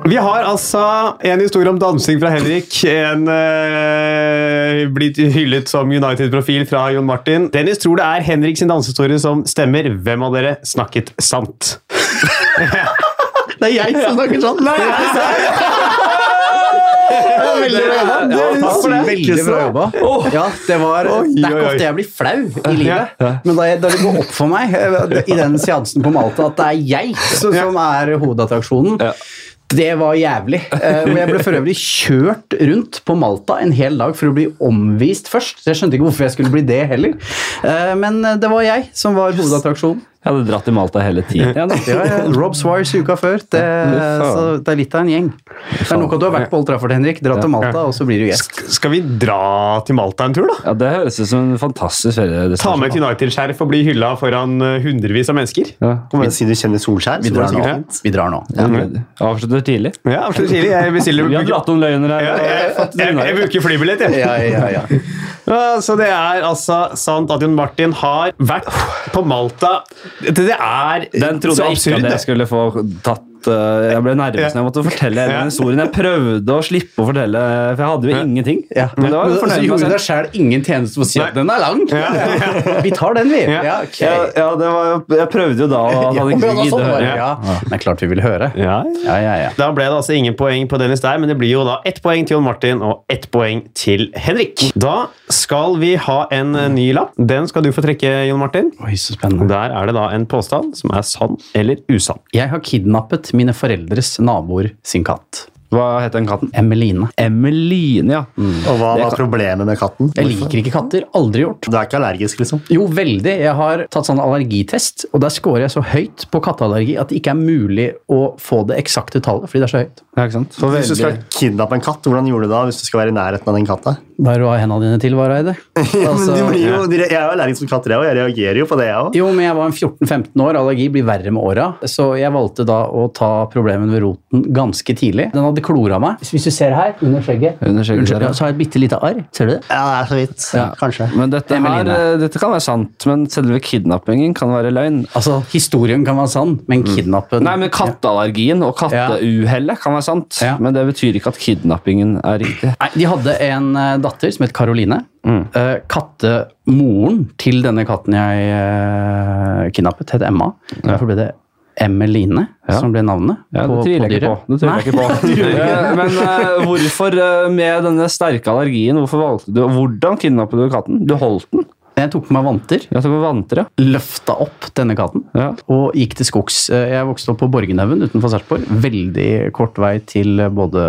[SPEAKER 4] Vi har altså en historie om dansing fra Henrik. En eh, blitt hyllet som United-profil fra Jon Martin. Dennis tror det er Henrik sin dansehistorie som stemmer. Hvem av dere snakket sant?
[SPEAKER 5] Det er jeg som snakker sånn! Nei,
[SPEAKER 2] Veldig bra jobba.
[SPEAKER 4] takk for det.
[SPEAKER 2] Veldig bra jobba. Ja, det, var, det er
[SPEAKER 4] oi,
[SPEAKER 2] ikke
[SPEAKER 4] oi.
[SPEAKER 2] ofte jeg blir flau i livet, men da, jeg, da det går opp for meg eh, i den seansen på Malta at det er jeg som som er hovedattraksjonen, Det var jævlig. Eh, og jeg ble for øvrig kjørt rundt på Malta en hel dag for å bli omvist først. Så jeg skjønte ikke hvorfor jeg skulle bli det heller. Eh, men det var jeg som var hovedattraksjonen.
[SPEAKER 3] Jeg hadde dratt til Malta hele tiden.
[SPEAKER 2] Ja, da. Det var Rob Swires uka før. Det, så det er litt av en gjeng. Det er nok at du har vært på Old Trafford, Henrik. Dra til Malta, og så blir du gjest.
[SPEAKER 4] Sk- Skal vi dra til Malta en tur, da?
[SPEAKER 3] Ja, Det høres ut som en fantastisk
[SPEAKER 4] Ta med et
[SPEAKER 3] feriedestinasjon.
[SPEAKER 4] United-skjerf og bli hylla foran eh, hundrevis av mennesker?
[SPEAKER 3] Ja.
[SPEAKER 5] Kom igjen, siden du kjenner Solskjær.
[SPEAKER 2] Vi
[SPEAKER 5] så går
[SPEAKER 2] drar
[SPEAKER 5] det
[SPEAKER 2] nå.
[SPEAKER 5] sikkert fint.
[SPEAKER 2] Vi drar nå.
[SPEAKER 3] Avslutter tidlig.
[SPEAKER 4] Ja, absolutt tidlig. Jeg bestiller
[SPEAKER 3] Vi har dratt noen løgner her.
[SPEAKER 4] Ja,
[SPEAKER 3] og
[SPEAKER 4] jeg,
[SPEAKER 3] fått
[SPEAKER 4] jeg, jeg
[SPEAKER 3] grunnlaget.
[SPEAKER 4] bruker flybillett, jeg.
[SPEAKER 2] Ja, ja, ja.
[SPEAKER 4] Ja, så det er altså sant at Jon Martin har vært på Malta. Det det er
[SPEAKER 3] Den trodde
[SPEAKER 4] så
[SPEAKER 3] jeg ikke
[SPEAKER 4] absurd,
[SPEAKER 3] at jeg
[SPEAKER 4] det.
[SPEAKER 3] skulle få tatt eh, Jeg ble nervøs når jeg måtte fortelle
[SPEAKER 4] Ja.
[SPEAKER 3] den historien. Jeg prøvde å slippe å fortelle, for jeg hadde jo ingenting.
[SPEAKER 2] Ja.
[SPEAKER 3] Men det var
[SPEAKER 2] Men altså,
[SPEAKER 3] jo
[SPEAKER 2] så
[SPEAKER 3] fornøyd med
[SPEAKER 2] gjorde deg
[SPEAKER 3] meg selv.
[SPEAKER 2] sjæl ingen tjeneste for å si at
[SPEAKER 4] Nei.
[SPEAKER 2] den er lang. Vi tar den, vi.
[SPEAKER 4] Ja.
[SPEAKER 2] Ja, ok.
[SPEAKER 3] Ja, ja, det var, jo- jeg prøvde jo da, og han hadde ikke
[SPEAKER 2] Ja, sånn
[SPEAKER 3] giddet å
[SPEAKER 2] var
[SPEAKER 3] høre.
[SPEAKER 2] det. Ja. Det er klart vi vil høre.
[SPEAKER 4] Ja.
[SPEAKER 2] Ja, ja, ja.
[SPEAKER 4] Da ble det altså ingen poeng på Dennis der, men det blir jo da ett poeng til Jon Martin og ett poeng til Henrik. Da skal vi ha en eh, ny lapp. Den skal du få trekke, Jon Martin.
[SPEAKER 2] Oi, så spennende.
[SPEAKER 4] Der er det da en påstand som er sann eller usann.
[SPEAKER 2] Jeg har kidnappet mine foreldres naboer sin katt.
[SPEAKER 3] Hva het den katten?
[SPEAKER 2] Emeline.
[SPEAKER 3] Emmeline, ja.
[SPEAKER 5] Og hva var problemet med katten?
[SPEAKER 2] Jeg liker ikke katter. Aldri gjort.
[SPEAKER 5] Du er ikke allergisk, liksom?
[SPEAKER 2] Jo, veldig. Jeg har tatt sånn allergitest, og der scorer jeg så høyt på katteallergi at det ikke er mulig å få det eksakte tallet, fordi det er så høyt.
[SPEAKER 3] Ja, ikke sant?
[SPEAKER 5] Hvis du skal kidnappe en katt, hvordan gjorde du det da hvis du skal være i nærheten av den katta?
[SPEAKER 2] Hva er det du har hendene dine til, Vareide?
[SPEAKER 5] Men
[SPEAKER 2] Altså,
[SPEAKER 5] du blir jo, jeg er jo allergisk mot katter, jeg òg. Jeg reagerer jo på det, jeg òg.
[SPEAKER 2] jo, men jeg var en 14-15 år, allergi blir verre med åra, så jeg valgte da å ta problemen ved roten ganske tidlig. Den hadde klora meg. Hvis du ser her, under skjegget,
[SPEAKER 3] Under skjegget der, ja.
[SPEAKER 2] ja, så har jeg et bitte lite arr. Ser du det?
[SPEAKER 5] Ja, det er så vidt.
[SPEAKER 2] Ja.
[SPEAKER 5] Kanskje.
[SPEAKER 3] Men dette, her,
[SPEAKER 2] Emmeline.
[SPEAKER 3] eh, dette kan være sant, men selve kidnappingen kan være løgn.
[SPEAKER 2] Altså, historien kan være sann, men kidnappen
[SPEAKER 3] Mm. Nei, men Katteallergien og katteuhellet kan være sant,
[SPEAKER 2] Ja.
[SPEAKER 3] men det betyr ikke at kidnappingen er riktig.
[SPEAKER 2] Nei, De hadde en eh, datter som het Karoline.
[SPEAKER 3] Mm.
[SPEAKER 2] Eh, kattemoren til denne katten jeg eh, kidnappet, het Emma. Derfor ble det Emmeline
[SPEAKER 3] Ja.
[SPEAKER 2] som ble navnet.
[SPEAKER 3] Ja, det tviler jeg ikke på. Det tviler jeg ikke på. Eh, Men eh, hvorfor, eh, med denne sterke allergien, hvorfor valgte du Hvordan kidnappet du katten? Du holdt den?
[SPEAKER 2] Jeg tok på meg vanter,
[SPEAKER 3] Ja, det var vantere.
[SPEAKER 2] løfta opp denne katten
[SPEAKER 3] Ja.
[SPEAKER 2] og gikk til skogs. Eh, Jeg vokste opp på Borgenhaugen utenfor Sarpsborg. Veldig kort vei til eh, både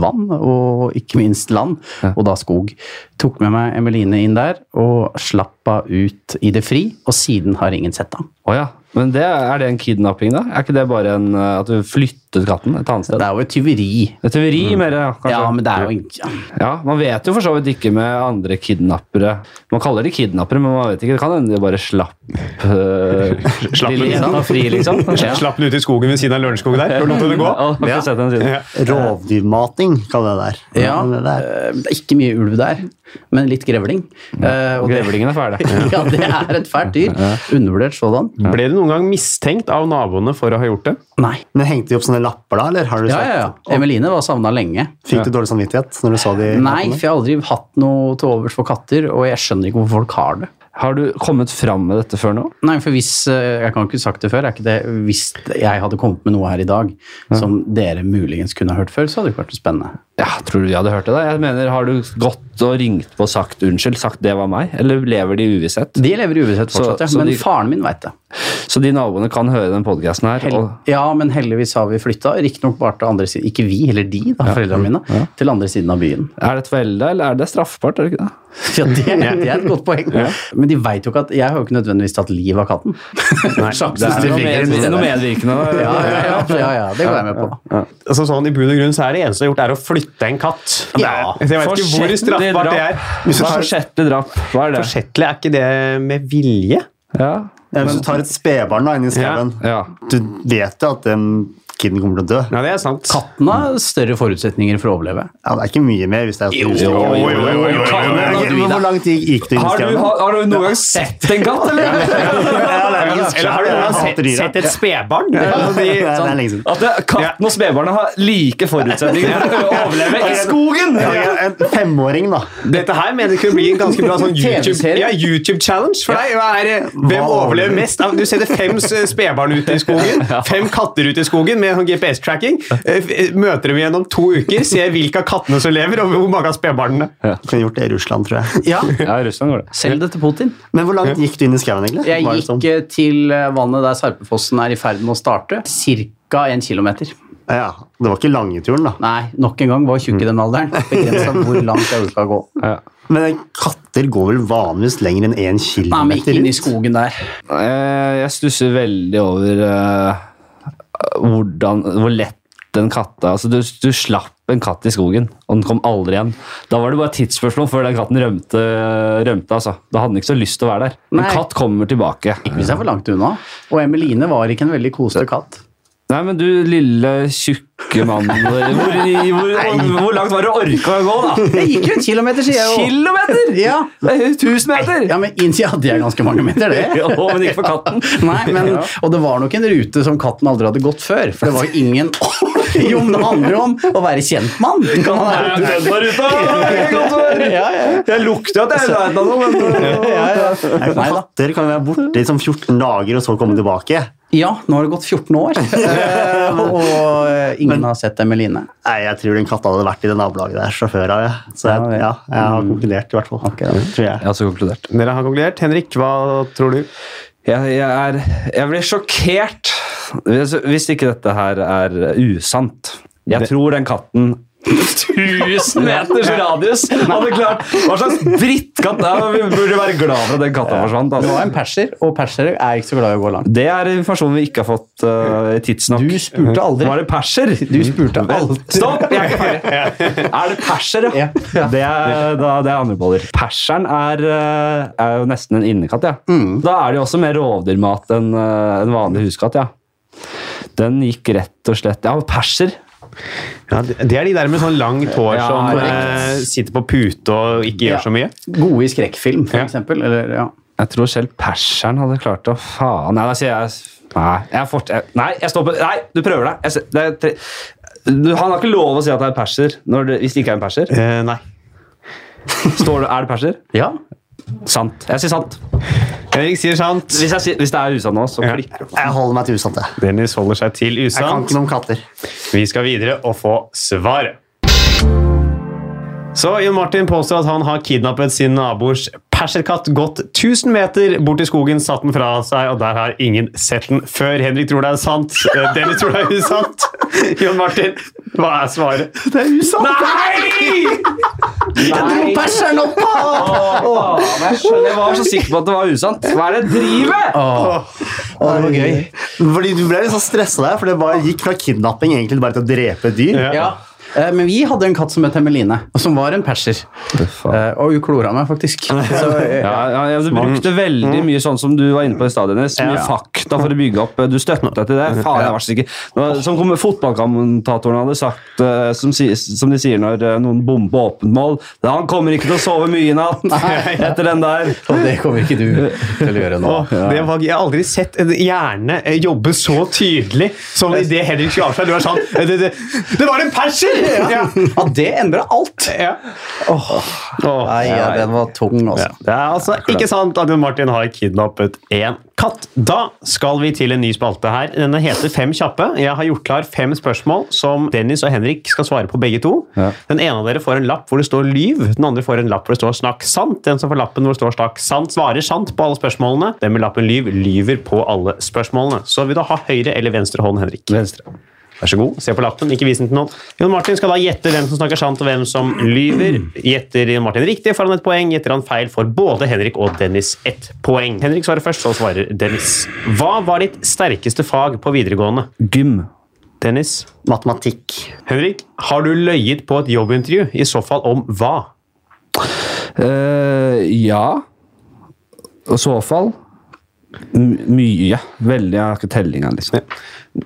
[SPEAKER 2] vann og ikke minst land, og da skog. Tok med meg Emeline inn der og slapp henne ut i det fri, og siden har ingen sett henne.
[SPEAKER 3] Å ja. Men det, er det en kidnapping, da? Er ikke det bare en, eh, at du flyttet katten et annet
[SPEAKER 2] Det
[SPEAKER 3] sted?
[SPEAKER 2] er jo et tyveri.
[SPEAKER 3] Et tyveri, mer, ja, kanskje?
[SPEAKER 2] Ja, men det er jo ikke ja.
[SPEAKER 3] Ja, Man vet jo for så vidt ikke med andre kidnappere. Man kaller de kidnappere, men man vet ikke. Det kan hende de bare slapp øh,
[SPEAKER 4] Slapp
[SPEAKER 3] lille
[SPEAKER 4] den.
[SPEAKER 3] jenta fri, liksom.
[SPEAKER 4] Slapp den ut i skogen ved siden av Lørenskog der. og lot henne gå.
[SPEAKER 3] Ja, har ikke sett den siden.
[SPEAKER 5] Rovdyrmating, kan det der.
[SPEAKER 2] Ja,
[SPEAKER 5] det der.
[SPEAKER 2] eh, det er ikke mye ulv der, men litt grevling. Eh, og det-
[SPEAKER 3] Grevlingen er ferdig.
[SPEAKER 2] ja, det er et fælt dyr. Undervurdert sådan.
[SPEAKER 4] Ble du noen gang mistenkt av naboene for å ha gjort det?
[SPEAKER 2] Nei.
[SPEAKER 5] Men Hengte de opp sånne lapper, da? eller har du
[SPEAKER 2] Ja,
[SPEAKER 5] sett?
[SPEAKER 2] ja, ja. Emeline var savna lenge.
[SPEAKER 5] Fikk du dårlig samvittighet når du så de?
[SPEAKER 2] Nei,
[SPEAKER 5] lappene?
[SPEAKER 2] for jeg har aldri hatt noe til overs for katter, og jeg skjønner ikke hvorfor folk har det.
[SPEAKER 3] Har du kommet fram med dette før nå?
[SPEAKER 2] Nei, for hvis, eh, Jeg kan ikke sagt det før. Er ikke det, hvis jeg hadde kommet med noe her i dag som dere muligens kunne ha hørt før, så hadde det ikke vært så spennende.
[SPEAKER 3] Ja, Tror du vi hadde hørt det? da? Jeg mener, Har du gått og ringt på og sagt unnskyld? Sagt 'det var meg'? Eller lever de i uvisshet?
[SPEAKER 2] De lever i uvisshet
[SPEAKER 3] Så-
[SPEAKER 2] fortsatt,
[SPEAKER 3] så
[SPEAKER 2] ja. Men
[SPEAKER 3] de-
[SPEAKER 2] faren min veit det.
[SPEAKER 3] Så de naboene kan høre den podkasten her.
[SPEAKER 2] Hel
[SPEAKER 3] Og
[SPEAKER 2] ja, men heldigvis har vi flytta. Riktignok bare til andre siden Ikke vi, eller de, da, foreldrene mine. Til andre siden av byen.
[SPEAKER 3] er det et forelda, eller er det straffbart? Er det ikke det?
[SPEAKER 2] Ja, det, er- det er et godt poeng. Men de veit jo ikke at Jeg har jo ikke nødvendigvis tatt livet av katten. Sjansen
[SPEAKER 3] Det er
[SPEAKER 2] til
[SPEAKER 3] noe,
[SPEAKER 2] fingeren
[SPEAKER 3] med,
[SPEAKER 2] til
[SPEAKER 3] noe
[SPEAKER 2] det.
[SPEAKER 3] medvirkende. da.
[SPEAKER 2] Ja, ja, ja, ja, ja, det går jeg med på.
[SPEAKER 4] Altså sånn, I bunn og grunn så er det eneste jeg har gjort, er å flytte en katt.
[SPEAKER 2] Ja.
[SPEAKER 4] Det er- jeg vet ikke hvor
[SPEAKER 3] Forsettlig
[SPEAKER 4] straffbart det er.
[SPEAKER 3] drap. Hva er forsettlig drap? Hva er det?
[SPEAKER 4] Forsettlig, er ikke det med vilje?
[SPEAKER 3] Ja,
[SPEAKER 5] Ja, Hvis du tar et spedbarn da, inn i skauen,
[SPEAKER 3] ja.
[SPEAKER 5] du vet jo at den kiden kommer til å dø.
[SPEAKER 4] Ja, det er sant.
[SPEAKER 2] Katten har større forutsetninger for å overleve.
[SPEAKER 5] Ja, det er ikke mye mer hvis det er
[SPEAKER 4] Jo, jo, jo, jo, jo, jo.
[SPEAKER 5] Ok, men Hvor langt gikk, gikk du inn i
[SPEAKER 3] Har du,
[SPEAKER 5] skauen?
[SPEAKER 3] har, har du noen gang sett en katt, eller?
[SPEAKER 4] Eller har du noen gang sett, sett et spedbarn?
[SPEAKER 5] Ja,
[SPEAKER 4] Altså,
[SPEAKER 5] det
[SPEAKER 4] de-
[SPEAKER 5] er lenge siden.
[SPEAKER 3] At det, katten og spedbarna har like forutsetninger for å overleve i skogen!
[SPEAKER 5] Ja, ja, En femåring, da.
[SPEAKER 4] Dette her mener jeg kunne bli en ganske bra sånn YouTube-challenge
[SPEAKER 2] TV-serie.
[SPEAKER 4] ja, YouTube challenge for deg. Hva er, det- hvem overlever mest? Ja, Du setter fem s- spedbarn ut i skogen, fem katter ut i skogen med sånn GPS-tracking. Eh, f- Møter dem gjennom to uker, ser hvilke av kattene som lever, og hvor mange av spedbarnene.
[SPEAKER 5] Du kunne gjort det i Russland, tror jeg.
[SPEAKER 2] Ja,
[SPEAKER 3] Ja, i Russland går det.
[SPEAKER 2] Selg det til Putin.
[SPEAKER 5] Men hvor langt gikk du inn i skauen, egentlig?
[SPEAKER 2] Jeg
[SPEAKER 5] Var det
[SPEAKER 2] gikk
[SPEAKER 5] sånn?
[SPEAKER 2] eh, til eh, vannet der Sarpefossen er i ferd med å starte, ca. 1 km.
[SPEAKER 5] Ja, det var ikke lange turen, da.
[SPEAKER 2] Nei, nok en gang var tjukk i den alderen. Begrensa hvor langt jeg skal gå.
[SPEAKER 5] Men katter går vel vanligvis lenger enn én
[SPEAKER 2] Nei, men ikke
[SPEAKER 5] kilometer
[SPEAKER 2] inn i
[SPEAKER 5] ut?
[SPEAKER 2] skogen der.
[SPEAKER 3] Eh, Jeg stusser veldig over eh, hvordan, hvor lett den katta altså du, du slapp en katt i skogen, og den kom aldri igjen. Da var det bare et tidsspørsmål før den katten rømte. rømte altså. Da hadde den ikke så lyst til å være der. En
[SPEAKER 2] Nei.
[SPEAKER 3] katt kommer tilbake.
[SPEAKER 2] Hvis jeg er for langt unna. Og Emeline var ikke en veldig kosete katt.
[SPEAKER 3] Nei, men du lille tjukke mann hvor, hvor, hvor langt var det du orka å gå, da?
[SPEAKER 2] Jeg gikk jo en kilometer, sier jeg jo.
[SPEAKER 3] Kilometer!
[SPEAKER 2] Ja.
[SPEAKER 3] Det er jo 1000 meter!
[SPEAKER 2] Ja, men inn til hadde jeg ganske mange meter, det.
[SPEAKER 3] Jo, men ikke for katten.
[SPEAKER 2] Nei, men, og det var nok en rute som katten aldri hadde gått før. For det var jo ingen Jo, men det handler jo om å være kjent mann. Kan man være ja, ja.
[SPEAKER 4] Jeg lukter at jeg er noe, men
[SPEAKER 2] Ja, ja. Nei da.
[SPEAKER 5] Katter kan jo være borte i sånn 14 dager og så komme tilbake.
[SPEAKER 2] Ja, nå har det gått 14 år, eh, og eh, ingen har sett Emeline.
[SPEAKER 5] Nei, Jeg tror den katta hadde vært i det nabolaget der fra før av. jeg. Så
[SPEAKER 2] Ja, Mm.
[SPEAKER 5] jeg,
[SPEAKER 2] vel.
[SPEAKER 5] ja, jeg har konkludert, i hvert fall. Tror jeg.
[SPEAKER 3] Jeg har også konkludert.
[SPEAKER 4] Dere har konkludert. Henrik, hva tror du?
[SPEAKER 3] Jeg, jeg, er, jeg blir sjokkert hvis, hvis ikke dette her er usant. Jeg tror den katten 1000 meters radius hadde klart Hva slags drittkatt er det? Vi burde være glad for at den katta forsvant.
[SPEAKER 2] Det var en
[SPEAKER 3] Altså.
[SPEAKER 2] perser, og persere er ikke så glad i å gå langt.
[SPEAKER 3] Det er informasjon vi ikke har fått eh, tidsnok.
[SPEAKER 2] Du spurte aldri.
[SPEAKER 3] Var det perser?
[SPEAKER 2] Du spurte alltid.
[SPEAKER 3] Stopp! Jeg er ikke ferdig. Er det perser, ja?
[SPEAKER 2] Ja.
[SPEAKER 3] Det er, da, det er andre boller. Perseren er, eh, er jo nesten en innekatt, ja.
[SPEAKER 2] Mm.
[SPEAKER 3] Da er det jo også mer rovdyrmat enn eh, en vanlig huskatt, ja. Den gikk rett og slett Ja, perser.
[SPEAKER 4] Ja, det det er de der med sånn langt hår
[SPEAKER 3] Ja,
[SPEAKER 4] som
[SPEAKER 3] korrekt.
[SPEAKER 4] eh, sitter på pute og ikke gjør
[SPEAKER 2] Ja.
[SPEAKER 4] så mye.
[SPEAKER 2] Gode i skrekkfilm, for
[SPEAKER 4] Ja.
[SPEAKER 2] eksempel. Eller, ja.
[SPEAKER 3] Jeg tror selv perseren hadde klart å Faen. Nei, da sier jeg Nei, jeg, fort, jeg, nei, jeg står på Nei, du prøver deg. Jeg, ser- det er tre, du, han har ikke lov å si at det er perser når det, hvis det ikke er en perser.
[SPEAKER 4] Eh, nei.
[SPEAKER 3] Står det, er det perser?
[SPEAKER 2] ja.
[SPEAKER 3] Sant. Jeg sier sant.
[SPEAKER 4] Henrik sier sant.
[SPEAKER 3] Hvis, jeg, sier- hvis det er usant nå, så
[SPEAKER 4] Ja.
[SPEAKER 3] klikker det.
[SPEAKER 5] Jeg holder meg til usant. Jeg
[SPEAKER 4] Dennis holder seg til
[SPEAKER 5] Jeg kan
[SPEAKER 4] usant.
[SPEAKER 5] ikke noe om katter.
[SPEAKER 4] Vi skal videre og få svaret. Så Jon Martin påstår at han har kidnappet sin nabors perserkatt, gått 1000 meter bort i skogen, satt den fra seg, og der har ingen sett den før. Henrik tror det er sant. Eh, Dennis tror det er usant. Jon Martin, hva er svaret?
[SPEAKER 2] Det er usant!
[SPEAKER 4] Nei!
[SPEAKER 2] Jeg dro perseren opp!
[SPEAKER 3] Jeg skjønner, jeg var så sikker på at det var usant. Hva er det jeg driver med?
[SPEAKER 2] Å, det var gøy.
[SPEAKER 5] Fordi Du ble litt sånn stressa der, for det bare gikk fra kidnapping egentlig bare til å drepe et dyr.
[SPEAKER 4] Ja.
[SPEAKER 2] Ja. Eh, Men vi hadde en katt som het Emeline, og som var en perser. Eh, Og hun klora meg, faktisk. Så, eh,
[SPEAKER 3] Ja, ja, ja, du brukte veldig mye sånn som du var inne på i stad, Dennis. Mye fakta for å bygge opp. Du støttet deg til det. Faen, jeg var så sikker. Det var- Som kom- fotballkommentatorene hadde sagt, eh, som, si- som de sier når eh, noen bomber åpent mål «Ja, Han kommer ikke til å sove mye i natt etter den der.
[SPEAKER 2] Og det kommer ikke du til å gjøre nå.
[SPEAKER 4] Åh, det var, jeg har aldri sett en hjerne eh, jobbe så tydelig som i det Henrik skulle avsløre. Du var sånn eh, det, det, det var en perser! Ja.
[SPEAKER 2] Ja, det endra alt!
[SPEAKER 4] Ja. Åh.
[SPEAKER 2] Nei, ja, den var tung, altså.
[SPEAKER 4] Det er altså ikke sant at Jon Martin har kidnappet en katt. Da skal vi til en ny spalte her. Denne heter Fem kjappe. Jeg har gjort klar fem spørsmål som Dennis og Henrik skal svare på begge to. Den ene av dere får en lapp hvor det står lyv. Den andre får en lapp hvor det står snakk sant. Den som får lappen hvor det står snakk sant, svarer sant på alle spørsmålene. Den med lappen lyv lyver på alle spørsmålene. Så vil du ha høyre eller venstre hånd, Henrik?
[SPEAKER 3] Venstre.
[SPEAKER 4] Vær så god, se på lappen, ikke vis den til noen. Jon Martin skal da gjette hvem som snakker sant og hvem som lyver. Gjetter Jon Martin riktig, får han et poeng. Gjetter han feil, får både Henrik og Dennis ett poeng. Henrik svarer først, så svarer Dennis. Hva var ditt sterkeste fag på videregående?
[SPEAKER 3] Gym.
[SPEAKER 4] Dennis?
[SPEAKER 5] Matematikk.
[SPEAKER 4] Henrik, har du løyet på et jobbintervju? I så fall om hva?
[SPEAKER 3] Eh, ja. I så fall m mye. Veldig. Jeg har ikke tellinga, liksom.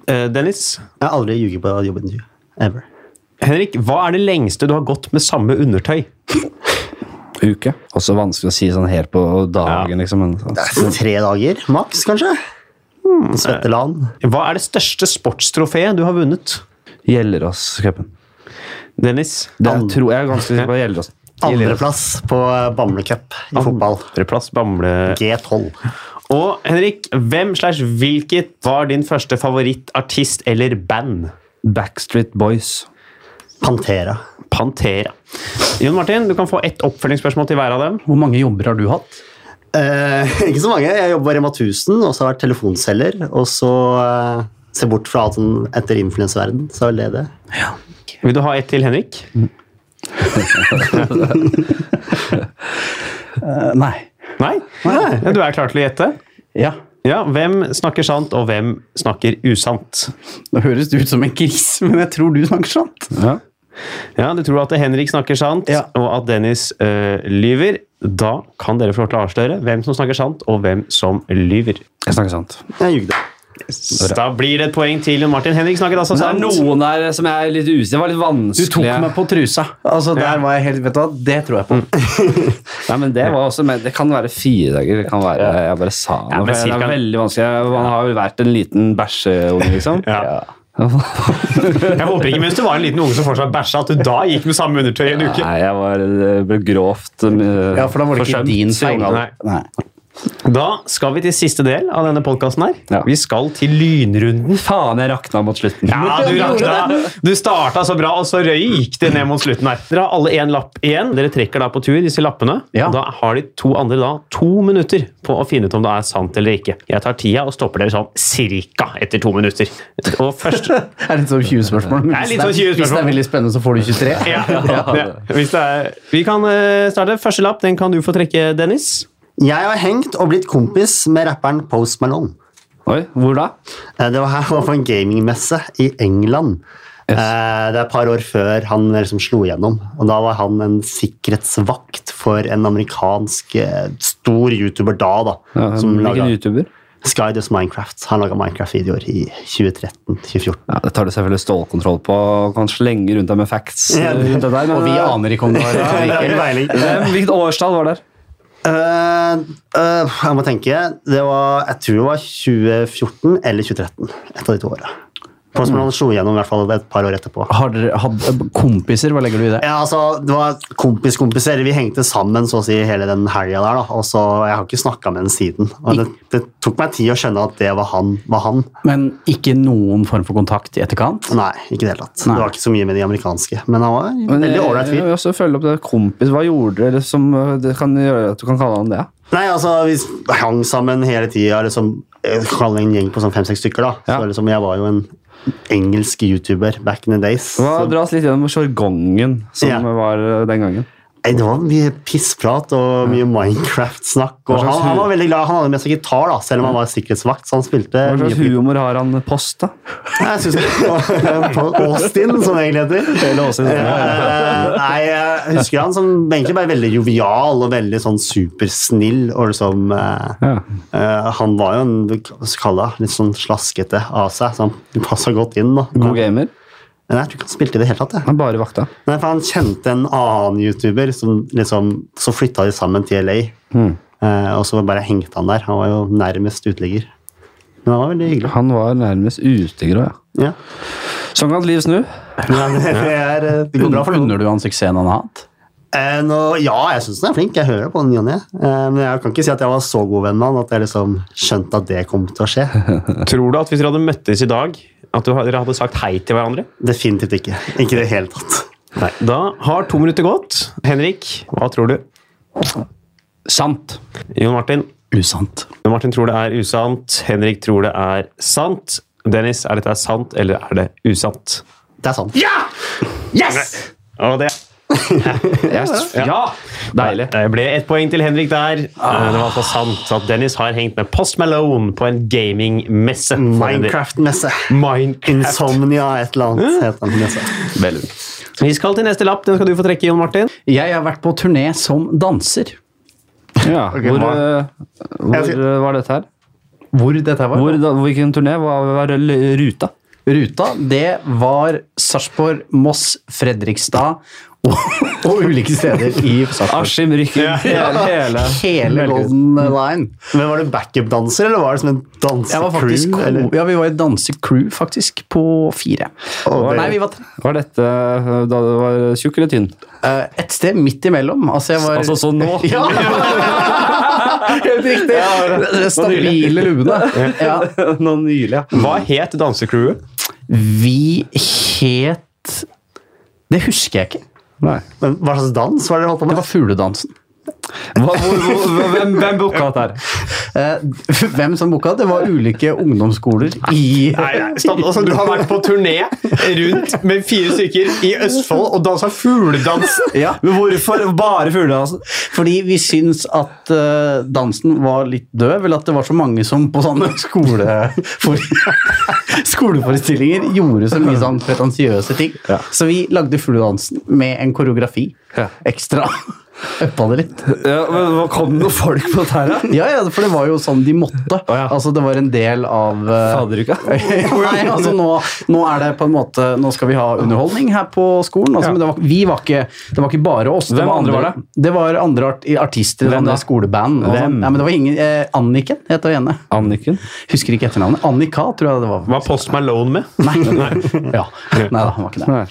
[SPEAKER 4] Eh, Dennis?
[SPEAKER 5] Jeg har aldri ljuget på jobbintervju. Ever.
[SPEAKER 4] Henrik, hva er det lengste du har gått med samme undertøy?
[SPEAKER 3] Uke. Også vanskelig å si sånn helt på dagen, liksom. Men, sånn.
[SPEAKER 5] Tre dager maks, kanskje?
[SPEAKER 2] Hmm.
[SPEAKER 5] Svetteland.
[SPEAKER 4] Hva er det største sportstrofeet du har vunnet?
[SPEAKER 3] Gjellerås-cupen.
[SPEAKER 4] Dennis?
[SPEAKER 3] Det tror jeg er ganske sikker på. Gjellerås.
[SPEAKER 5] Andreplass på eh, Bamble Cup i fotball.
[SPEAKER 4] Andreplass, Bamble...
[SPEAKER 5] G12.
[SPEAKER 4] Og Henrik, hvem slash hvilket var din første favorittartist eller band?
[SPEAKER 3] Backstreet Boys.
[SPEAKER 5] Pantera.
[SPEAKER 4] Pantera. Jon Martin, du kan få ett oppfølgingsspørsmål til hver av dem.
[SPEAKER 2] Hvor mange jobber har du hatt?
[SPEAKER 5] Eh, ikke så mange. Jeg jobber på Rema 1000, og så har jeg vært telefonselger. Og så eh, Se bort fra alt sånn etter influenseverden, så er vel det det.
[SPEAKER 4] Vil du ha ett til, Henrik?
[SPEAKER 2] Eh, nei.
[SPEAKER 4] Nei? Ja, Du er klar til å gjette?
[SPEAKER 2] Ja.
[SPEAKER 4] Ja, Hvem snakker sant, og hvem snakker usant?
[SPEAKER 2] Nå høres du ut som en gris, men jeg tror du snakker sant.
[SPEAKER 3] Ja.
[SPEAKER 4] Ja, Du tror at Henrik snakker sant,
[SPEAKER 2] Ja.
[SPEAKER 4] og at Dennis øh, lyver. Da kan dere få lov til å avsløre hvem som snakker sant, og hvem som lyver.
[SPEAKER 3] Jeg snakker sant.
[SPEAKER 5] Jeg jugde.
[SPEAKER 4] Så Da blir det et poeng til Martin. Henrik snakket altså
[SPEAKER 3] Det er
[SPEAKER 4] sant.
[SPEAKER 3] noen der som jeg er litt usikker Det var litt
[SPEAKER 2] Du
[SPEAKER 3] vanskelig.
[SPEAKER 2] tok meg på trusa. Altså, der var jeg helt, vet du hva, Det tror jeg på.
[SPEAKER 3] Nei, men det var også men Det kan være fire dager. Det kan være Jeg bare sa noe.
[SPEAKER 4] men
[SPEAKER 3] for Det
[SPEAKER 4] cirka-
[SPEAKER 3] er veldig vanskelig. Man har jo vært en liten bæsjeunge, liksom.
[SPEAKER 4] Ja. Jeg håper ikke mens du var en liten unge som fortsatt bæsja, at du da gikk med samme undertøy i en uke.
[SPEAKER 3] Nei, jeg var, jeg ble grovt eh,
[SPEAKER 2] Ja, for da var det ikke
[SPEAKER 3] forsømt
[SPEAKER 2] din
[SPEAKER 3] i
[SPEAKER 2] feil.
[SPEAKER 3] ungene.
[SPEAKER 4] Nei. Da skal vi til siste del av denne podkasten her.
[SPEAKER 3] Ja.
[SPEAKER 4] Vi skal til lynrunden.
[SPEAKER 3] Faen, jeg rakna mot slutten.
[SPEAKER 4] Ja, du rakna. Du starta så bra, og så røyk det ned mot slutten her. Dere har alle én lapp igjen. Dere trekker da på tur disse lappene.
[SPEAKER 2] Ja.
[SPEAKER 4] Da har de to andre da to minutter på å finne ut om det er sant eller ikke. Jeg tar tida og stopper dere sånn cirka etter to minutter. Og først...
[SPEAKER 2] Det er litt sånn 20-spørsmål. men
[SPEAKER 4] Det er
[SPEAKER 2] hvis
[SPEAKER 4] litt sånn
[SPEAKER 2] det er-
[SPEAKER 4] 20
[SPEAKER 2] Hvis det er veldig spennende, så får du 23.
[SPEAKER 4] Ja, ja. Hvis det er... Vi kan eh, starte. Første lapp den kan du få trekke, Dennis.
[SPEAKER 5] Jeg har hengt og blitt kompis med rapperen Post Malone.
[SPEAKER 3] Oi, hvor da?
[SPEAKER 5] Eh, Det var her var på en gamingmesse i England. Eh, Det er et par år før han liksom slo igjennom. Og da var han en sikkerhetsvakt for en amerikansk eh, stor YouTuber da, da.
[SPEAKER 3] Ja,
[SPEAKER 5] som
[SPEAKER 3] Hvilken
[SPEAKER 5] laga
[SPEAKER 3] YouTuber?
[SPEAKER 5] Sky Does Minecraft. Han laga Minecraft-videoer i 2013-2014.
[SPEAKER 3] Ja, det tar du selvfølgelig stålkontroll på og kan slenge rundt deg med facts.
[SPEAKER 5] Ja,
[SPEAKER 3] eh, rundt det der, men-
[SPEAKER 2] Og vi aner ikke om det var
[SPEAKER 5] Jeg har ikke peiling.
[SPEAKER 3] Hvem- Hvilket årstall var det?
[SPEAKER 5] Eh, eh, jeg må tenke. Det var, jeg tror det var 2014 eller 2013. Et av de to åra. Post Malone slo igjennom i hvert fall et par år etterpå.
[SPEAKER 2] Har dere hatt eh, kompiser? Hva legger du i det?
[SPEAKER 5] Ja, altså, det var kompis-kompiser. Vi hengte sammen så å si hele den helga der. da, og så Jeg har ikke snakka med den siden. og det, det tok meg tid å skjønne at det var han. var han.
[SPEAKER 2] Men ikke noen form for kontakt i etterkant?
[SPEAKER 5] Nei, ikke i det hele tatt.
[SPEAKER 2] Nei.
[SPEAKER 5] Det var ikke så mye med de amerikanske. Men han var en
[SPEAKER 3] Men,
[SPEAKER 5] veldig
[SPEAKER 3] eh,
[SPEAKER 5] ålreit
[SPEAKER 3] jeg
[SPEAKER 5] fyr.
[SPEAKER 3] vil også følge opp det kompis. Hva gjorde dere som eh, det kan gjøre at du kan kalle han det?
[SPEAKER 5] Nei, altså, vi hang sammen hele tida. Liksom, jeg kaller det en gjeng på sånn fem-seks stykker. da.
[SPEAKER 3] Ja.
[SPEAKER 5] Så liksom, Jeg var jo en engelsk youtuber back in the days.
[SPEAKER 3] Hva
[SPEAKER 5] så-
[SPEAKER 3] Dra oss litt gjennom sjargongen som
[SPEAKER 5] Ja.
[SPEAKER 3] var eh, den gangen.
[SPEAKER 5] Nei, Det var mye pissprat og mye Minecraft-snakk. og
[SPEAKER 3] Hva slags
[SPEAKER 5] han, han
[SPEAKER 3] hu-
[SPEAKER 5] var veldig glad, han hadde med seg gitar, da, selv om han var sikkerhetsvakt. så han spilte
[SPEAKER 3] Hva
[SPEAKER 5] mye
[SPEAKER 3] slags
[SPEAKER 5] på-
[SPEAKER 3] humor har han post, da?
[SPEAKER 5] Nei, Jeg synes på Austin, som det egentlig heter. Eh, Nei, jeg husker han som egentlig bare veldig jovial og veldig sånn supersnill. Og liksom eh,
[SPEAKER 3] Ja.
[SPEAKER 5] eh, Han var jo en hva skal jeg kalle det, litt sånn slaskete av seg, så han passa godt inn. da.
[SPEAKER 3] God gamer.
[SPEAKER 5] Men jeg tror ikke han spilte i det hele tatt. Jeg.
[SPEAKER 3] Han bare vakta.
[SPEAKER 5] Nei, for han kjente en annen YouTuber, som liksom, så flytta de sammen til LA.
[SPEAKER 3] Hmm.
[SPEAKER 5] Eh, og så bare hengte han der. Han var jo nærmest uteligger. Men han var veldig hyggelig.
[SPEAKER 3] Han var nærmest utegrå, ja.
[SPEAKER 5] Ja.
[SPEAKER 3] Sånn kan et liv snu.
[SPEAKER 5] Men det, er, eh, det går bra for noen.
[SPEAKER 2] Unner du han suksessen han har hatt?
[SPEAKER 5] Eh, nå, ja, jeg syns den er flink. Jeg hører på den, Jonny. Eh, men jeg kan ikke si at jeg var så god venn med han at jeg liksom skjønte at det kom til å skje.
[SPEAKER 4] Tror du at hvis dere hadde møttes i dag, at du- dere hadde sagt hei til hverandre?
[SPEAKER 5] Definitivt ikke. Ikke i det hele tatt.
[SPEAKER 4] Nei. Da har to minutter gått. Henrik, hva tror du?
[SPEAKER 2] Sant.
[SPEAKER 4] Jon Martin?
[SPEAKER 2] Usant.
[SPEAKER 4] Jon Martin tror det er usant. Henrik tror det er sant. Dennis, er dette sant, eller er det usant?
[SPEAKER 5] Det er sant.
[SPEAKER 4] Yes! Og det
[SPEAKER 3] Ja! Deilig.
[SPEAKER 4] det ble ett poeng til Henrik der. Eh, Det var altså sant at Dennis har hengt med Post Malone på en gamingmesse.
[SPEAKER 5] Minecraft-messe.
[SPEAKER 4] Minecraft.
[SPEAKER 5] Insomnia et eller annet. heter den messa.
[SPEAKER 4] Vi skal til neste lapp. Den skal du få trekke, Jon Martin.
[SPEAKER 2] Jeg har vært på turné som danser.
[SPEAKER 3] Ja. Hvor,
[SPEAKER 5] hva-
[SPEAKER 3] eh,
[SPEAKER 5] Jeg
[SPEAKER 3] hvor
[SPEAKER 5] skal-
[SPEAKER 3] eh, var dette her?
[SPEAKER 2] Hvor dette var?
[SPEAKER 3] Hvor, da, hvilken turné? Hva var l- ruta?
[SPEAKER 2] Ruta, det var Sarpsborg, Moss, Fredrikstad og, og ulike steder i Sarpsborg.
[SPEAKER 3] Askim rykker hele, Ah, hele.
[SPEAKER 2] Hele Golden Line.
[SPEAKER 5] Men Var du backup-danser, eller var det som en
[SPEAKER 2] Jeg var faktisk
[SPEAKER 5] dansecrew?
[SPEAKER 2] ko-
[SPEAKER 5] eller?
[SPEAKER 2] ja, vi var i dansecrew, faktisk, på fire.
[SPEAKER 5] Å, det-
[SPEAKER 2] Nei, vi var tre.
[SPEAKER 3] Var dette eh, da du var tjukk eller tynn?
[SPEAKER 2] Eh, Et sted midt imellom. Altså, jeg var
[SPEAKER 3] Altså sånn nå?
[SPEAKER 2] Ja! Helt riktig! Stabile lubene. Ja.
[SPEAKER 3] nå nylig, ja.
[SPEAKER 4] Hva het dansecrewet?
[SPEAKER 2] Vi het Det husker jeg ikke.
[SPEAKER 3] Nei.
[SPEAKER 5] Men Hva slags dans var det dere holdt på
[SPEAKER 2] Det
[SPEAKER 5] med?
[SPEAKER 2] var fugledansen.
[SPEAKER 4] Hva, hvor, hvor, hvem hvem booka dette her?
[SPEAKER 2] Eh, Hvem som booka? Det var ulike ungdomsskoler i
[SPEAKER 4] Nei, nei, stopp. Altså, du har vært på turné rundt med fire stykker i Østfold og dansa fugledansen.
[SPEAKER 2] Ja.
[SPEAKER 4] Men hvorfor bare altså? fugledansen?
[SPEAKER 2] Fordi vi syns at eh, dansen var litt døv, eller at det var så mange som på sånne skole for, skoleforestillinger gjorde så mye sånn pretensiøse ting. Så vi lagde fluedansen med en koreografi
[SPEAKER 3] Ja.
[SPEAKER 2] ekstra. Uppa det litt.
[SPEAKER 3] Ja, men hva Kom det noen folk på dette her, da?
[SPEAKER 2] Ja, ja, for det var jo sånn de måtte.
[SPEAKER 3] Å, ja.
[SPEAKER 2] Altså, det var en del av eh,
[SPEAKER 3] Faderuka?
[SPEAKER 2] Nei, altså nå, nå er det på en måte Nå skal vi ha underholdning her på skolen. Altså, Men det var, vi var ikke, det var ikke bare oss.
[SPEAKER 3] Hvem
[SPEAKER 2] det var
[SPEAKER 3] andre var
[SPEAKER 2] det? Det var andre art, artister.
[SPEAKER 3] Hvem
[SPEAKER 2] sånne
[SPEAKER 3] da?
[SPEAKER 2] Skoleband. og
[SPEAKER 3] Hvem?
[SPEAKER 2] sånn. Nei, men det var ingen, eh, Anniken heter hun ene.
[SPEAKER 3] Anniken?
[SPEAKER 2] Husker ikke etternavnet. Annika, tror jeg det var.
[SPEAKER 4] Hva er Post Malone med?
[SPEAKER 2] Nei, ja. Nei da, han var ikke det.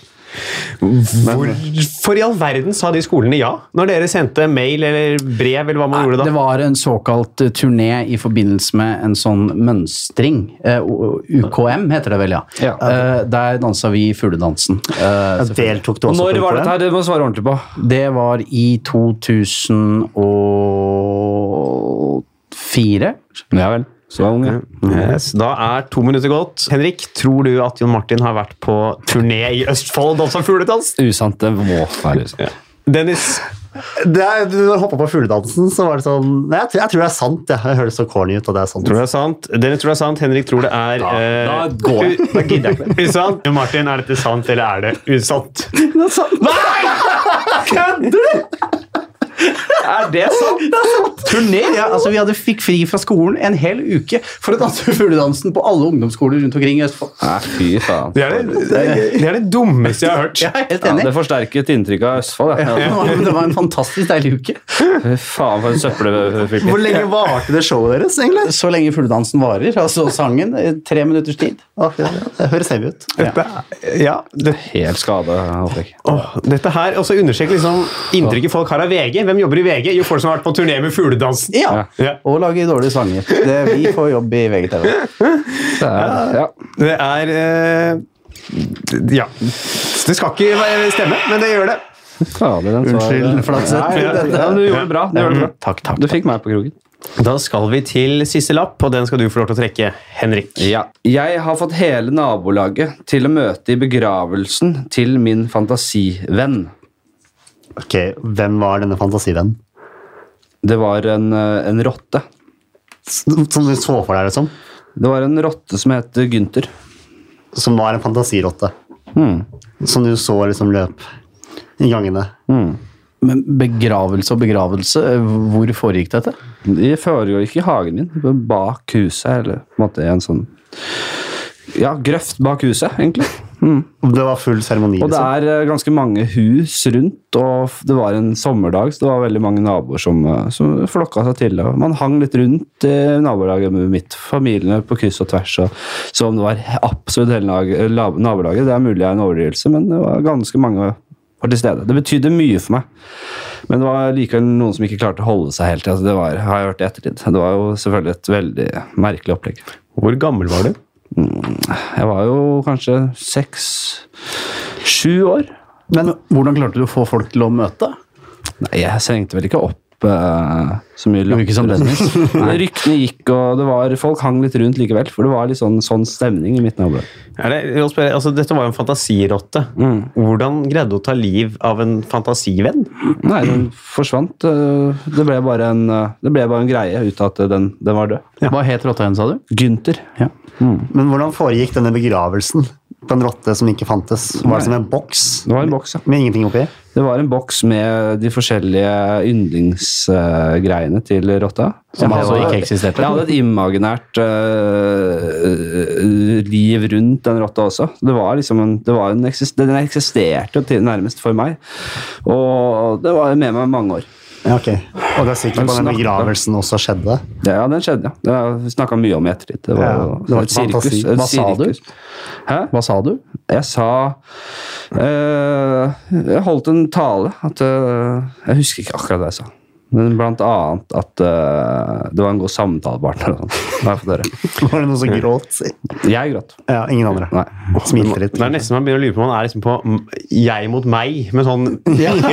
[SPEAKER 4] Hvorfor i all verden sa de skolene ja? Når dere sendte mail eller brev, eller hva man gjorde
[SPEAKER 2] Det
[SPEAKER 4] da?
[SPEAKER 2] var en såkalt eh, turné i forbindelse med en sånn mønstring. eh, o- UKM heter det vel, ja.
[SPEAKER 3] Ja.
[SPEAKER 2] Eh, Der dansa vi fugledansen. eh,
[SPEAKER 5] Jeg deltok du også
[SPEAKER 3] Når
[SPEAKER 5] på
[SPEAKER 3] var
[SPEAKER 5] det?
[SPEAKER 3] dette her? Det må du svare ordentlig på.
[SPEAKER 2] Det var i 2004.
[SPEAKER 3] Ja vel. Så var unge.
[SPEAKER 4] Yes, da er to minutter gått. Henrik, tror du at Jon Martin har vært på turné i Østfold og dansa fugledans?
[SPEAKER 3] Usant. Det må være usant.
[SPEAKER 4] Dennis,
[SPEAKER 5] Det er, du hoppa på fugledansen, så var det sånn Nei, jeg, tror- jeg tror det er sant. Jeg, jeg hører det så corny ut, og det er sant.
[SPEAKER 4] tror du det er sant? Dennis tror det er sant. Henrik tror det er Da,
[SPEAKER 3] da går jeg.
[SPEAKER 4] Da gidder jeg ikke. Usant. Jon Martin, er dette sant, eller er det usant?
[SPEAKER 2] Det er sant!
[SPEAKER 3] Er det sant?
[SPEAKER 2] Turné! Ja, altså, vi hadde fikk fri fra skolen en hel uke for å danse fugledansen på alle ungdomsskoler rundt omkring i Østfold.
[SPEAKER 3] Nei, fy faen.
[SPEAKER 4] Det er det, det, er, det er det dummeste jeg har hørt.
[SPEAKER 2] Jeg er helt
[SPEAKER 3] Ja,
[SPEAKER 2] enig.
[SPEAKER 3] det forsterket inntrykket av Østfold. det.
[SPEAKER 2] Det var- Det var en fantastisk deilig uke.
[SPEAKER 3] Fy faen, for en søppelfylke.
[SPEAKER 5] Hvor lenge varte det showet deres, egentlig?
[SPEAKER 2] Så lenge fugledansen varer, altså sangen, eh, tre minutters tid.
[SPEAKER 5] Å, fy, ja, Det høres heavy ut.
[SPEAKER 4] Dette, ja, det,
[SPEAKER 3] Helt skada opplegg.
[SPEAKER 4] åh, dette her også understreker liksom inntrykket folk har av VG. Hvem jobber i VG? Jo, folk som har vært på turné med fugledansen.
[SPEAKER 2] Ja.
[SPEAKER 4] Ja.
[SPEAKER 2] Og lage dårlige sanger. Det, vi får jobb i VGTV.
[SPEAKER 3] Det er- Ja.
[SPEAKER 4] Det er eh, Ja. Det skal ikke være- stemme, men det gjør det.
[SPEAKER 3] Fader, den så-
[SPEAKER 2] Unnskyld, Flatseth.
[SPEAKER 3] Nei, det- ja, Du gjorde det bra. Du, gjorde det bra.
[SPEAKER 2] Takk, takk.
[SPEAKER 3] du fikk meg på kroken.
[SPEAKER 4] Da skal vi til siste lapp, og den skal du få lov til å trekke, Henrik.
[SPEAKER 3] Ja. Jeg har fått hele nabolaget til å møte i begravelsen til min fantasivenn.
[SPEAKER 5] Ok, Hvem var denne fantasivennen?
[SPEAKER 3] Det var en, eh, en rotte.
[SPEAKER 5] Som som du så for deg, liksom?
[SPEAKER 3] Det var en rotte som het Gynter.
[SPEAKER 5] Som var en fantasirotte?
[SPEAKER 3] Hmm.
[SPEAKER 5] Som du så liksom løp i gangene?
[SPEAKER 2] Men begravelse og begravelse, eh, hvor foregikk dette?
[SPEAKER 3] De foregår ikke i hagen min, men bak huset, eller på en måte i en sånn ja, grøft bak huset, egentlig.
[SPEAKER 5] Det var full seremoni,
[SPEAKER 3] Og det
[SPEAKER 5] liksom?
[SPEAKER 3] er eh, ganske mange hus rundt, og f- det var en sommerdag, så det var veldig mange naboer som, eh, som flokka seg til. Og man hang litt rundt i nabolaget med mitt, familiene på kryss og tvers. Og, så om det var absolutt hele nag- la- nabolaget, det er mulig jeg er en overdrivelse, men det var ganske mange var til stede. Det betydde mye for meg. Men det var likevel noen som ikke klarte å holde seg helt. Altså det var, har jeg hørt i ettertid. Det var jo selvfølgelig et veldig merkelig opplegg.
[SPEAKER 4] Hvor gammel var du?
[SPEAKER 3] Jeg var jo kanskje seks, sju år.
[SPEAKER 2] Men hvordan klarte du å få folk til å møte?
[SPEAKER 3] Nei, jeg sengte vel ikke opp eh, så mye.
[SPEAKER 2] ikke som
[SPEAKER 3] latter. Nei, Ryktene gikk, og det var, folk hang litt rundt likevel. For det var litt sånn, sånn stemning i mitt nabolag.
[SPEAKER 4] Er det, jeg vil spørre, altså, dette var jo en fantasirotte. Hvordan greide du å ta liv av en fantasivenn?
[SPEAKER 3] Nei, den forsvant. eh, Det ble bare en, eh, det ble bare en greie ut av at den, den var død.
[SPEAKER 2] Hva het rotta igjen, sa du?
[SPEAKER 3] Gynter.
[SPEAKER 5] Men hvordan foregikk denne begravelsen på en rotte som ikke fantes? Var
[SPEAKER 3] Nei.
[SPEAKER 5] det som en boks
[SPEAKER 3] Det var en boks, ja.
[SPEAKER 5] med ingenting oppi?
[SPEAKER 3] Det var en boks med de forskjellige yndlingsgreiene til rotta.
[SPEAKER 2] Som
[SPEAKER 3] Jeg
[SPEAKER 2] altså
[SPEAKER 3] hadde-
[SPEAKER 2] ikke eksisterte?
[SPEAKER 3] Jeg hadde et imaginært eh, liv rundt den rotta også. Det var liksom en, det var en eksist, Den eksisterte jo til, nærmest for meg. Og det var med meg i mange år.
[SPEAKER 5] Ja, ok. Og det er sikkert
[SPEAKER 3] Men
[SPEAKER 5] på den
[SPEAKER 3] snakk, da.
[SPEAKER 5] begravelsen også skjedde.
[SPEAKER 3] Det, ja, den skjedde, ja. Det har vi snakka mye om i ettertid. Det var,
[SPEAKER 5] Ja,
[SPEAKER 3] det var et
[SPEAKER 5] fantasi.
[SPEAKER 3] sirkus. et
[SPEAKER 2] Hva sa du?
[SPEAKER 3] sirkus. Hæ?
[SPEAKER 2] Hva sa du?
[SPEAKER 3] Jeg sa eh, Jeg holdt en tale at eh, Jeg husker ikke akkurat hva jeg sa. Men blant annet at eh, det var en god samtalepartner. og sånn. Har jeg fått høre.
[SPEAKER 5] Var det noen som gråt?
[SPEAKER 3] Jeg gråt.
[SPEAKER 5] Ja, ingen andre.
[SPEAKER 3] Nei.
[SPEAKER 5] Smilte litt.
[SPEAKER 4] Det er nesten man begynner å lure på om man er liksom på mm, jeg mot meg, med sånn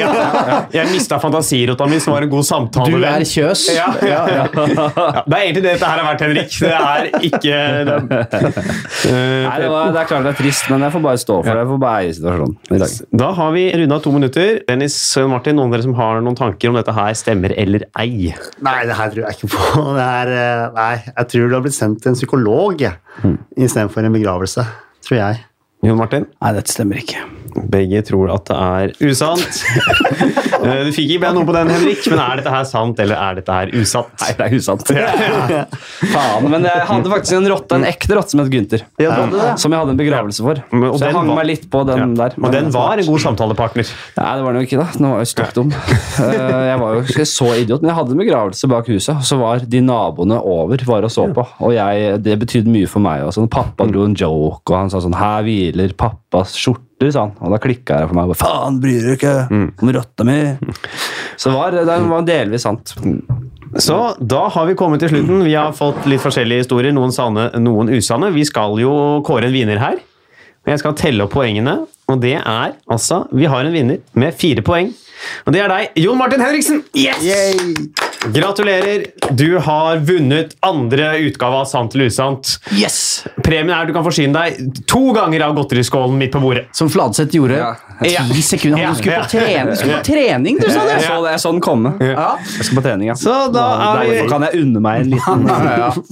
[SPEAKER 4] Jeg mista fantasirota mi, som var en god samtale.
[SPEAKER 2] Du er Kjøs.
[SPEAKER 4] ja, ja, ja. ja, Det er egentlig det dette her har vært, Henrik. Det er ikke det er,
[SPEAKER 3] Nei, det, var, det er klart det er trist, men jeg får bare stå for det. Jeg får bare eie situasjonen i dag.
[SPEAKER 4] Da har vi runda to minutter. Dennis Søren Martin, noen av dere som har noen tanker om dette her stemmer eller ei?
[SPEAKER 5] Nei, det her tror jeg ikke på. Det er, eh, nei, jeg tror du har blitt sendt til en psykolog jeg,
[SPEAKER 3] Hmm.
[SPEAKER 5] istedenfor en begravelse. Tror jeg.
[SPEAKER 4] Jon Martin?
[SPEAKER 2] Nei, dette stemmer ikke.
[SPEAKER 4] Begge tror at det er usant. Eh, du fikk ikke med noe på den, Henrik, men er dette her sant, eller er dette her usant?
[SPEAKER 3] Nei, det er usant. Faen, men jeg hadde faktisk en rotte, en ekte rotte som het Gunther.
[SPEAKER 5] du hadde det?
[SPEAKER 3] Som jeg hadde en begravelse for.
[SPEAKER 4] Men- og
[SPEAKER 3] Så jeg
[SPEAKER 4] den
[SPEAKER 3] hang
[SPEAKER 4] var-
[SPEAKER 3] meg litt på den der.
[SPEAKER 4] Og den var en god samtalepartner.
[SPEAKER 3] Nei, det var den jo ikke, da. Den var jo stokk dum. Eh, jeg var jo ikke så idiot, men jeg hadde en begravelse bak huset, og så var de naboene over var og så på. Og jeg, det betydde mye for meg. Og sånn, pappa
[SPEAKER 4] Mm.
[SPEAKER 3] dro en joke, og han sa sånn Her hviler pappas skjorter, sa han. Og da klikka det for meg. og bare, Faen, bryr du deg
[SPEAKER 4] Mm.
[SPEAKER 3] ikke om rotta mi? Så det var, den var delvis sant.
[SPEAKER 4] Så da har vi kommet til slutten. Vi har fått litt forskjellige historier. Noen sanne, noen usanne. Vi skal jo kåre en vinner her. Og jeg skal telle opp poengene. Og det er altså Vi har en vinner med fire poeng. Og det er deg, Jon Martin Henriksen. Yes! Gratulerer. Du har vunnet andre utgave av Sant eller usant.
[SPEAKER 2] Yes!
[SPEAKER 4] Premien er at du kan forsyne deg to ganger av godteriskålen midt på bordet.
[SPEAKER 2] Som Fladseth gjorde.
[SPEAKER 4] Ja.
[SPEAKER 2] Ti sekunder.
[SPEAKER 4] Ja.
[SPEAKER 2] Han skulle
[SPEAKER 4] Ja.
[SPEAKER 2] på trening, du, skulle på trening, du sa det!
[SPEAKER 3] Jeg så, det, jeg så den komme. Jeg skal på trening, ja.
[SPEAKER 4] Så da er vi
[SPEAKER 3] Derfor kan jeg unne meg en liten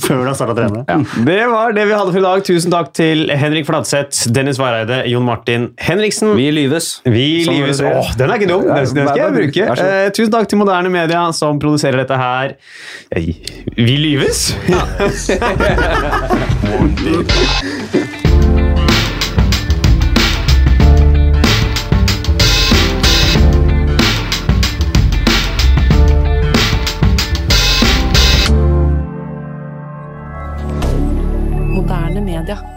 [SPEAKER 5] Før du har starta å trene.
[SPEAKER 4] Det var det vi hadde for i dag. Tusen takk til Henrik Fladseth, Dennis Vareide, Jon Martin Henriksen.
[SPEAKER 3] Vi lyves.
[SPEAKER 4] Vi
[SPEAKER 3] Sånn
[SPEAKER 4] lives
[SPEAKER 3] er det.
[SPEAKER 4] Åh, den er ikke dum! Den, den skal jeg
[SPEAKER 3] Nei,
[SPEAKER 4] bruke.
[SPEAKER 3] vær så god.
[SPEAKER 4] Eh, tusen takk til Moderne Media, som produserer dette her. Eh, Vi lyves!
[SPEAKER 1] One big lie.
[SPEAKER 6] Moderne media.